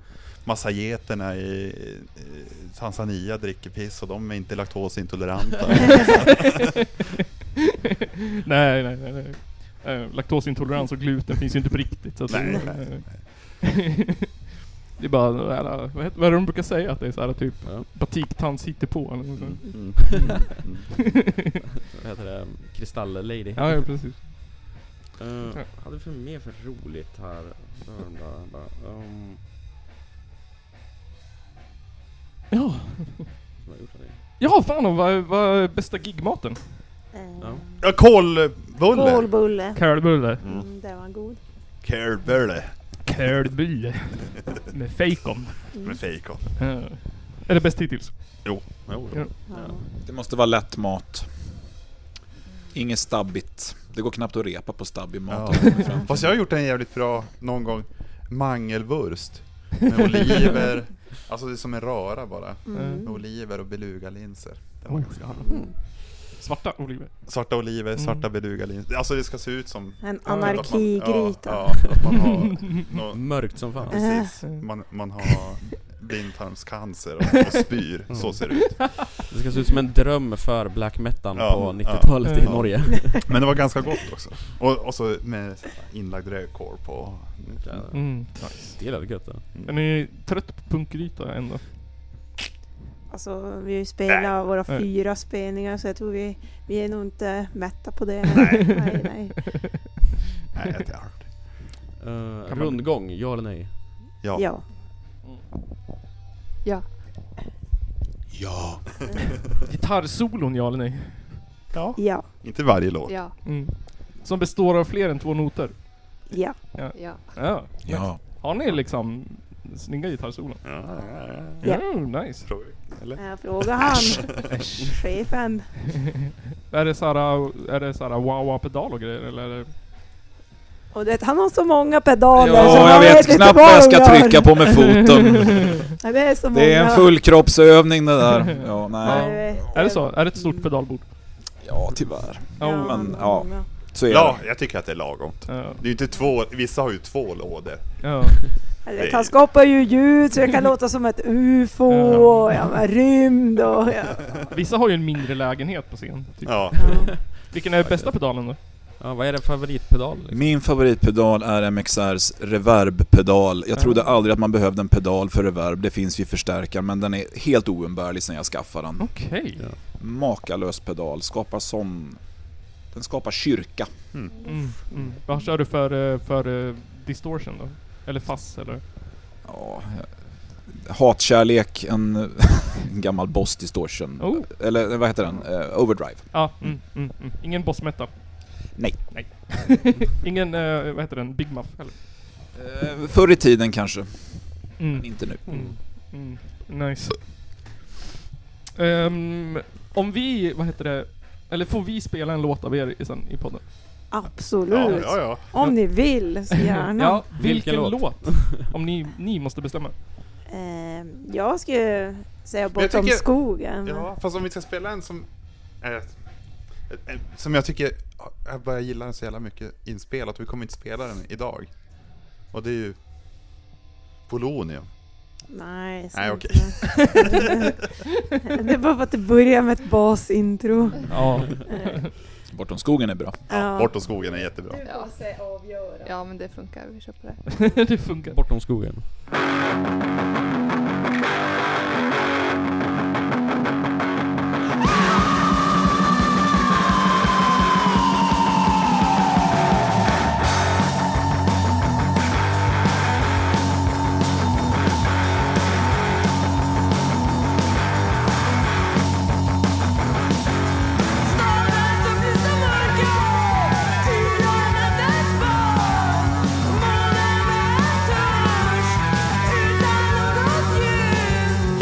S6: massa geterna i eh, Tanzania dricker piss och de är inte laktosintoleranta.
S2: <laughs> nej, nej, nej. nej. Eh, laktosintolerans och gluten finns ju inte på riktigt. Så att
S6: Nej,
S2: det,
S6: nej,
S2: <laughs> det är bara, det här, vad, heter, vad är det de brukar säga? Att det är såhär typ
S7: Ja.
S2: batiktans hittepå eller något sånt.
S7: Mm. Vad heter det? Kristall-lady.
S2: <laughs> Ja, ja, precis.
S7: Eh, hade vi för mer för roligt här? Bla, bla, bla. Um,
S2: Ja,
S7: vad har jag gjort av det?
S2: ja fan vad, vad är bästa gigmaten?
S7: Ja.
S6: Ja, kolbulle!
S5: Kolbulle.
S2: Kölbulle.
S5: Mm, det var en god.
S6: Kolbulle
S2: Kölbulle. Med fejkon.
S5: Mm.
S6: med fejkon.
S2: Eh, Är det bäst hittills?
S6: Jo,
S2: Ja.
S6: jo.
S5: Ja.
S3: Det måste vara lätt mat. Inget stabbigt. Det går knappt att repa på stabbig mat.
S6: Ja. Fast jag har gjort en jävligt bra någon gång. Mangelvurst.
S2: <laughs>
S6: Med oliver. Alltså det är som en röra bara.
S2: Mm.
S6: Med oliver och belugalinser. Det var
S2: Oj.
S6: ganska gott.
S2: Svarta oliver.
S6: Svarta oliver, svarta belugalinser. Alltså det ska se ut som...
S5: En
S6: att man-
S5: anarkigryta.
S6: Ja, ja, att man har... nå-
S7: Mörkt som fan.
S6: Precis. Man, man har blindtarmscancer och, och spyr. Så ser det ut.
S7: Det ska se ut som en dröm för black metal
S6: Ja,
S7: på
S6: ja.
S7: 90-talet i
S2: Ja.
S7: Norge.
S6: Men det var ganska gott också. Och, och så med inlagd rödkorv på.
S2: Mm.
S7: Det lät gött det.
S2: Är ni trött på punkgryta ändå?
S5: Alltså, vi har ju spelat våra
S2: Nej.
S5: fyra spelningar så jag tror vi, vi är nog inte mätta på det. Nej, nej. nej.
S6: Nej, det är hard.
S7: Eh,
S2: Kan man-
S7: rundgång, ja eller nej?
S6: Ja.
S5: Ja.
S4: Ja.
S3: Ja.
S2: Gitarrsolon, ja eller nej?
S6: ja.
S5: Ja.
S6: Inte varje låt.
S4: Ja.
S2: Mm. Som består av fler än två noter.
S5: Ja.
S4: Ja.
S2: Ja.
S3: Ja.
S2: Har ni liksom snygga gitarrsolon?
S5: Ja.
S2: Mm, nice.
S6: Tror vi.
S5: Jag frågar Eh, han. Chefen.
S2: Är det såhär, är det såhär wah-wah-pedal och grejer eller? Är det...
S5: Och det, han har så många pedaler så
S3: Ja, jag
S5: man
S3: vet
S5: inte
S3: knappt vad jag ska
S5: de gör.
S3: trycka på
S2: <laughs>
S3: med foten.
S5: Nej, det är så många.
S3: Det är en fullkroppsövning det där. Ja,
S5: Ja,
S3: nej.
S5: jag vet.
S2: Är det så? Är det ett stort pedalbord?
S3: Ja, tyvärr.
S5: Ja,
S2: Oh.
S3: men,
S5: han
S3: ja.
S5: har många.
S3: Så är
S6: Ja,
S3: det.
S6: jag tycker att det är lagomt.
S2: Ja.
S6: Det är ju inte två, vissa har ju två lådor.
S2: Ja.
S5: Jag vet, Han skapar ju ljud så jag
S6: <laughs>
S5: kan låta som ett UFO och ja, men rymd och... Ja.
S2: Vissa har ju en mindre lägenhet på scen. Typ.
S6: Ja.
S2: Vilken är bästa pedalen då?
S7: Ja, vad är din favoritpedal? Liksom?
S3: Min favoritpedal är MXRs reverbpedal. Jag trodde
S2: Ja.
S3: aldrig att man behövde en pedal för reverb. Det finns ju förstärkare men den är helt oumbärlig sen jag skaffade
S2: Mm.
S3: den.
S2: Okej.
S7: Ja.
S3: Makalös pedal, skapar sån... Den skapar kyrka.
S2: Mm. Mm. Vad kör du för, eh, för eh, distortion då? Eller fuzz eller?
S3: Ja, hatkärlek, en, <laughs> en gammal Boss Distortion.
S2: Oh.
S3: Eller vad heter den? Eh, Overdrive.
S2: Ja. Mm, mm, mm. Ingen boss metal?
S3: Nej.
S2: Nej. <laughs> Ingen, eh, vad heter den, Big Muff eller?
S3: Eh, förr i tiden kanske, men
S2: Mm.
S3: inte nu.
S2: Mm. Mm. Nice. Ehm, om vi, vad heter det, eller får vi spela en låt av er i- sen i podden?
S6: Ja,
S5: Absolut.
S6: ja, ja.
S5: Om ni vill
S6: <laughs>
S5: så
S2: <laughs>
S5: gärna.
S2: Ja, vilken,
S7: Vilken
S2: låt?
S7: låt?
S2: Om ni, ni måste bestämma. <laughs>
S5: Ehm, jag skulle säga
S6: Men jag
S5: Bortom
S6: tycker-
S5: skogen.
S6: Ja, fast om vi ska spela en som... eh, en- som jag tycker... Jag börjar gilla den så jävla mycket inspelat. Vi kommer inte spela den idag. Och det är ju... Polonium.
S5: Nej,
S6: Nej,
S5: sant. <laughs> Det är bara för att det börjar med ett basintro. <laughs>
S2: Ja.
S3: Bortom skogen är bra.
S5: Ja.
S6: Bortom skogen är jättebra.
S4: Ja.
S5: säga avgöra.
S4: ja, men det funkar. Vi kör på det.
S2: det funkar. <laughs>
S7: Bortom skogen.
S8: Utan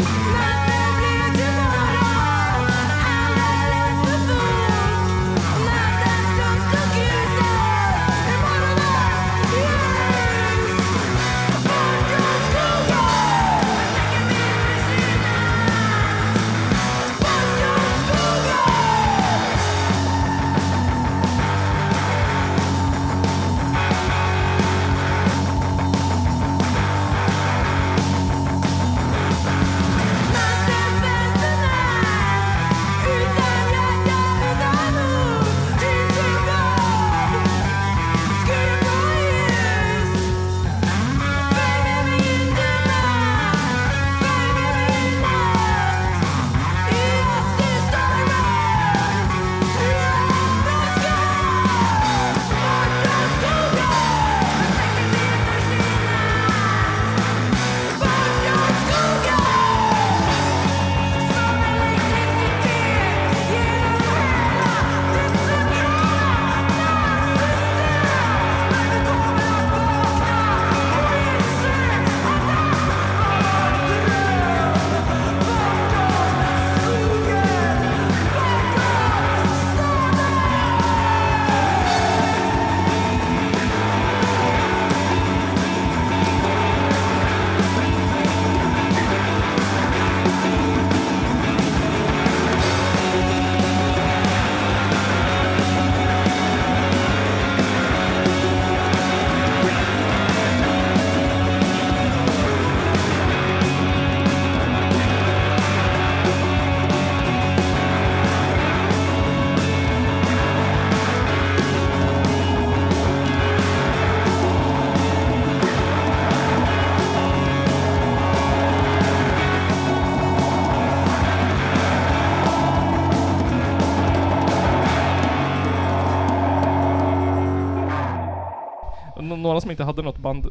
S8: något ljus
S2: Och nå- Några som inte hade något band,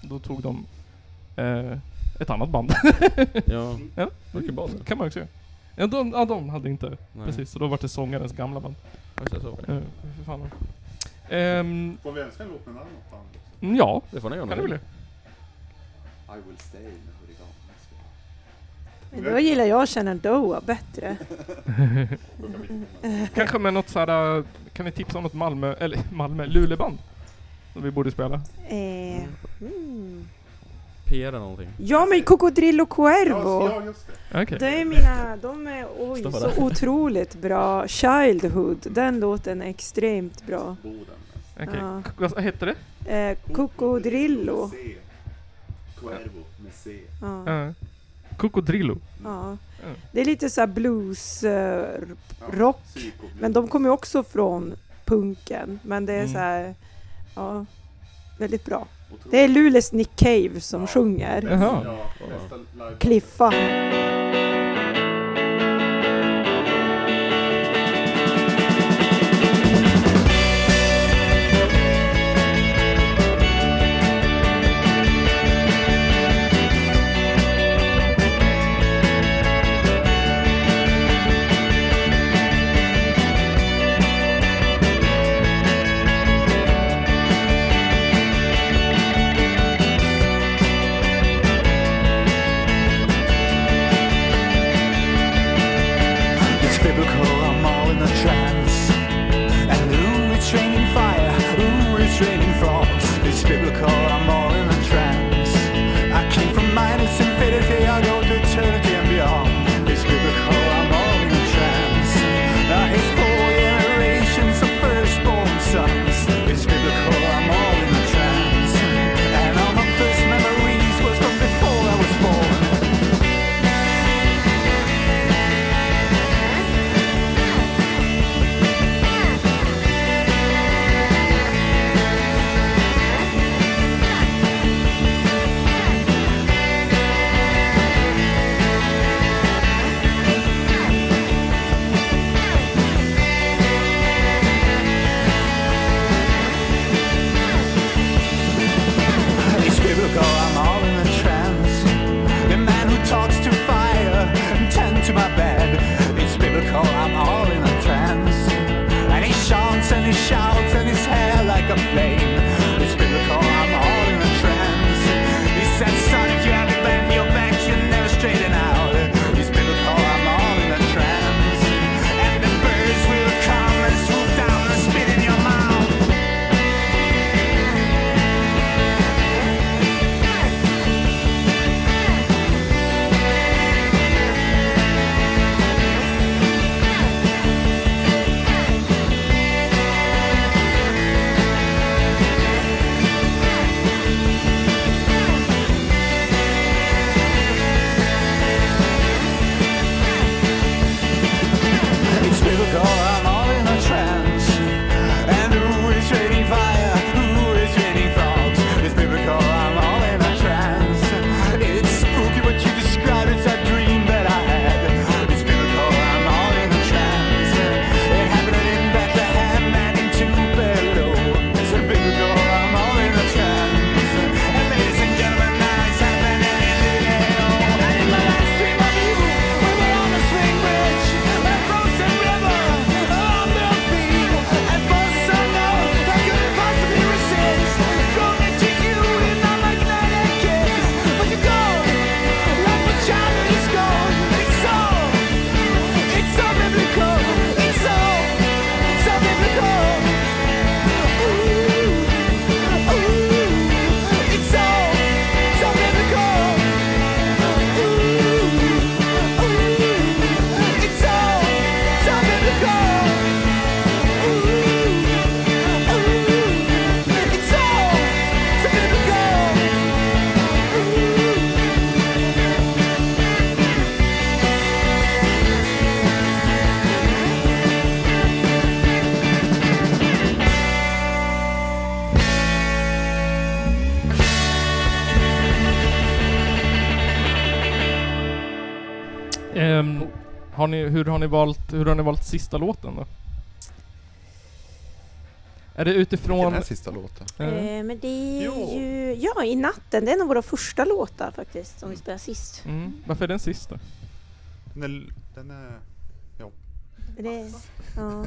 S2: då tog de eh, ett annat band.
S7: Ja,
S2: Mycket bra. kan man också göra. Ja, de, ja, de hade inte.
S7: nej.
S2: Precis, så då var det sångarens gamla band.
S7: Ja, just det, så var det.
S2: Eh, för fan. Ehm, mm,
S6: Får vi önska en låt med något band också?
S2: ja,
S7: Det får ni göra
S2: kan det
S7: nu.
S2: bli.
S8: I will stay med Huliganerna.
S5: Men då gillar jag Shannon Doa bättre.
S2: Kanske med något såhär, eh, kan ni tipsa om något Malmö, eller <laughs> Malmö, Luleband? Som vi borde spela.
S5: Eh, mm.
S7: PR eller någonting.
S5: Ja men Cocodrillo Cuervo!
S6: Ja, just det.
S2: Okej.
S5: Det är mina, de är oj,
S7: Står
S5: så
S2: <laughs>
S7: där.
S5: otroligt bra. Childhood, den låten är extremt bra.
S6: Boden.
S2: okej.
S5: Ja.
S2: K- Vad hette det?
S5: Eh, Cocodrillo.
S8: C. Cuervo med C.
S5: Ja.
S2: Uh, Cocodrillo.
S5: Ja.
S2: Mm.
S5: Det är lite så här blues, eh, r- rock.
S6: Psyko.
S5: Men de kommer ju också från punken. Men det är
S2: Mm.
S5: så här, ja, väldigt bra.
S6: Otroligt.
S5: Det är Luleås Nick Cave som sjunger.
S2: Jaha.
S6: Ja, bästa live.
S5: Kliffa.
S9: It's biblical, I'm all in a trance. And ooh, it's raining fire, ooh, it's raining frogs. It's biblical, I'm all in a trance. I came from minus infinity, I go to eternity and beyond. It's biblical, I'm all in a trance. I hate four generations of firstborn sons. It's biblical, I'm all in a trance. And all my first memories was from before I was born. It's biblical, I'm all in a trance. The man who talks to fire and tend to my bed. It's biblical, I'm all in a trance. And he shouts and he shouts and his hair like a flame. It's biblical, I'm all in a trance. He said, son, if you ever bend your back, you'll never straighten out. It's biblical, I'm all in a trance. And the birds will come and swoop down and spit in your mouth. It's biblical, I'm all in a trance. And who is raining fire? Who is raining frogs? It's biblical, I'm all in a trance. It's spooky what you describe, it's a dream that I had. It's biblical, I'm all in a trance. It happened in Bethlehem and in Tupelo. It's biblical, I'm all in a trance. And ladies and gentlemen, now it's happening in Leo. And in my last dream of you, we were on the swing bridge. A frozen river on the field. And for some love, I couldn't possibly resist. Thrown into you in a magnetic kiss. But you're gone, like my child is gone. It's so, it's so biblical. It's so, so biblical. Ooh. It's all so biblical. Ooh, ooh, it's all so biblical. Ooh, ooh, it's all so biblical. Ooh.
S2: Ehm, har ni, hur, har ni valt, hur har ni valt sista låten då? Är det utifrån...
S6: Vilken är sista låten?
S2: eh,
S5: Eh, men det är
S6: Jo.
S5: ju... Ja, I natten. Det är en av våra första låtar faktiskt, som vi spelade sist.
S2: Mm. Varför är den sist då?
S6: Den är, den är,
S5: Men Det, ja.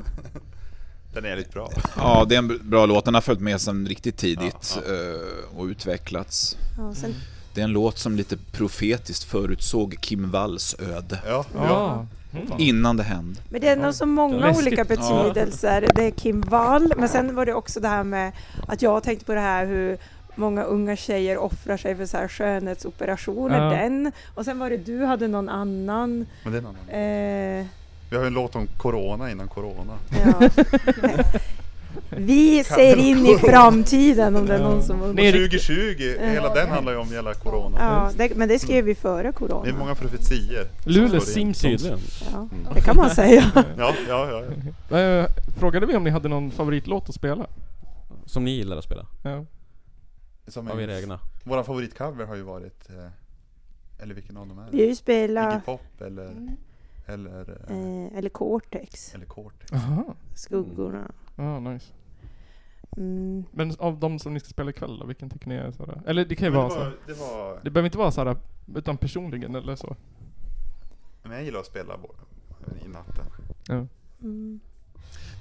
S6: den är jävligt bra.
S3: Ja, det är en bra låt. Den har följt med sedan riktigt tidigt eh, och utvecklats.
S5: Ja, sen,
S3: Det är en låt som lite profetiskt förutsåg Kim Walls öde.
S6: Ja, ja.
S2: Ja. Mm.
S3: Innan det hände.
S5: men det är nog så många
S2: Läskigt.
S5: olika betydelser. Det är Kim Wall, men sen var det också det här med att jag tänkte på det här hur många unga tjejer offrar sig för så här skönhetsoperationer.
S2: Ja.
S5: Den. Och sen var det du hade någon annan.
S6: Men det är en annan.
S5: Eh,
S6: Vi har ju en låt om Corona innan Corona.
S2: <laughs>
S5: ja. Vi ser in i framtiden om det är någon som undrar.
S2: Nej, det-
S6: 2020, hela den handlar ju om jävla Corona.
S5: Ja, det, men det skrev vi före corona.
S6: Det är många profetier. som
S2: Luleå
S6: slår in.
S2: Simsyds.
S7: Tydligen.
S5: Ja, det kan man säga.
S6: Ja, ja, ja. ja.
S2: Eh, Frågade vi om ni hade någon favoritlåt att spela?
S7: Som ni gillar att spela,
S2: Ja.
S6: Som
S7: av
S6: är-
S7: era egna.
S6: Våra favoritcover har ju varit, eh, eller vilken av dem är
S5: Vi har
S6: det?
S5: ju spelat,
S6: Iggy Pop eller, eller, eh,
S5: Mm. eh, eller Cortex,
S6: eller Cortex.
S2: Aha.
S5: Skuggorna.
S2: Ja, nice.
S5: Mm.
S2: Men av de som ni ska spela ikväll då, vilken tycker ni är sådär? Eller det kan
S6: Men
S2: ju
S6: Det
S2: vara så.
S6: var, det var,
S2: Det behöver inte vara såhär, utan personligen eller så.
S6: men jag gillar att spela bo- i natten.
S5: Mm.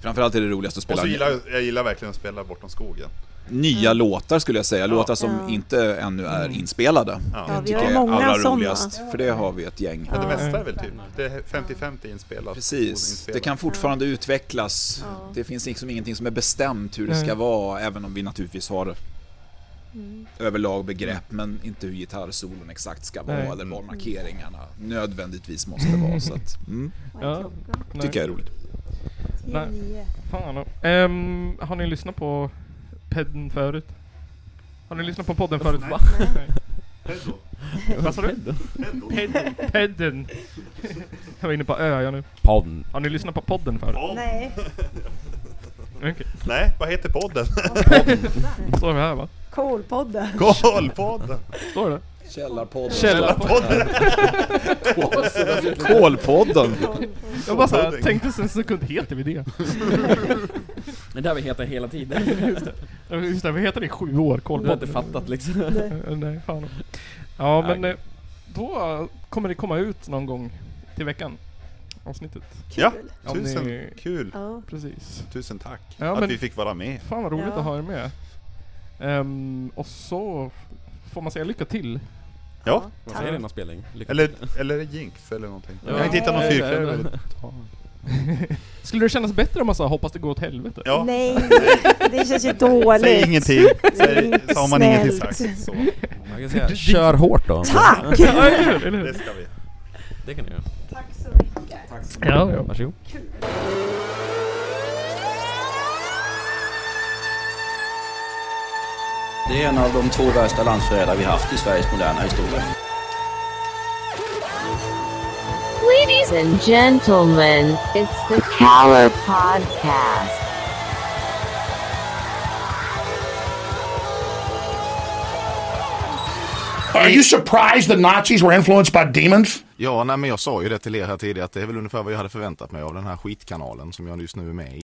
S3: Framförallt är det roligast att
S6: Och
S3: spela
S6: så gillar jag, jag gillar verkligen att spela Bortom skogen.
S3: nya låtar skulle jag säga. Låtar som
S5: Ja.
S3: inte ännu är inspelade.
S6: Ja.
S5: Ja, vi
S3: Tycker
S5: har
S3: jag är
S5: många
S3: allra
S5: sådana.
S3: roligast. För det har vi ett gäng.
S6: Men det
S5: Ja.
S6: mesta är väl typ, det är 50-50 inspelat.
S3: Precis, det
S6: oninspelat.
S3: kan fortfarande utvecklas. Det finns liksom ingenting som är bestämt hur det ska
S2: Nej.
S3: vara, även om vi naturligtvis har
S5: Mm.
S3: överlag begrepp, men inte hur gitarrsolon exakt ska vara
S2: Nej.
S3: eller var markeringarna nödvändigtvis måste vara. Så att, mm,
S2: Ja. Nej.
S3: tycker jag är roligt.
S2: Nej.
S5: Nio.
S2: Fan. Ehm, har ni lyssnat på podden förut? Har ni lyssnat på podden förut? Va?
S6: Peddo,
S2: Vad sa du?
S6: peddo.
S2: Podden. Jag var inne på ö jag nu.
S7: Podden.
S2: Har ni lyssnat på podden förut?
S6: Podd.
S5: Nej,
S2: Okej.
S6: Nej, vad heter podden?
S2: Står vi här va?
S5: Kolpodden.
S6: Kolpodden!
S2: Står det?
S1: <laughs>
S3: Källarpodden.
S6: Källarpodden!
S3: Kolpodden.
S2: Jag bara såhär,
S6: Pudding.
S2: tänkte sen en sekund, heter vi det?
S7: Det där vi heter hela tiden.
S2: Just det, vi heter det i sju år,
S7: Du har inte
S2: Kolpodden.
S7: fattat liksom.
S2: Eh, Nej, fan. Ja
S7: Nej.
S2: men eh, då kommer det komma ut någon gång till veckan. Avsnittet.
S6: Ja,
S5: Kul.
S2: Om ni-
S6: tusen, kul.
S5: Ja.
S2: Precis.
S6: Tusen tack
S2: Ja,
S6: att
S2: men-
S6: vi fick vara med.
S2: Fan vad roligt
S5: Ja.
S2: att ha er med. Ehm, och så får man säga lycka till.
S6: Ja,
S7: Vad säger denna spelning? Lycka
S6: eller,
S7: till.
S6: eller jinx eller någonting.
S7: Ja.
S6: Jag har inte hittat någon
S2: Nej.
S6: fyrklöver.
S2: <laughs> Skulle det kännas bättre om man sa hoppas det går åt helvete?
S6: Ja,
S5: Nej, det känns ju dåligt.
S6: säg ingenting. Säg,
S5: Inte
S6: så har man
S5: snällt.
S6: ingenting sagt. Så,
S7: Man kan säga, kör hårt då.
S5: Tack!
S2: Ja, eller hur? Eller
S6: det
S2: hur?
S6: ska vi.
S7: Det kan ni göra.
S5: Tack så mycket.
S2: Ja, ja.
S7: Varsågod.
S1: Det är en av de två värsta landsförrädare vi haft i Sveriges moderna historia.
S10: Ladies and gentlemen, it's the Caller Podcast.
S9: Are you surprised the Nazis were influenced by demons?
S11: Ja, nej, men jag sa ju det till er här tidigare att det är väl ungefär vad jag hade förväntat mig av den här skitkanalen som jag just nu är med i.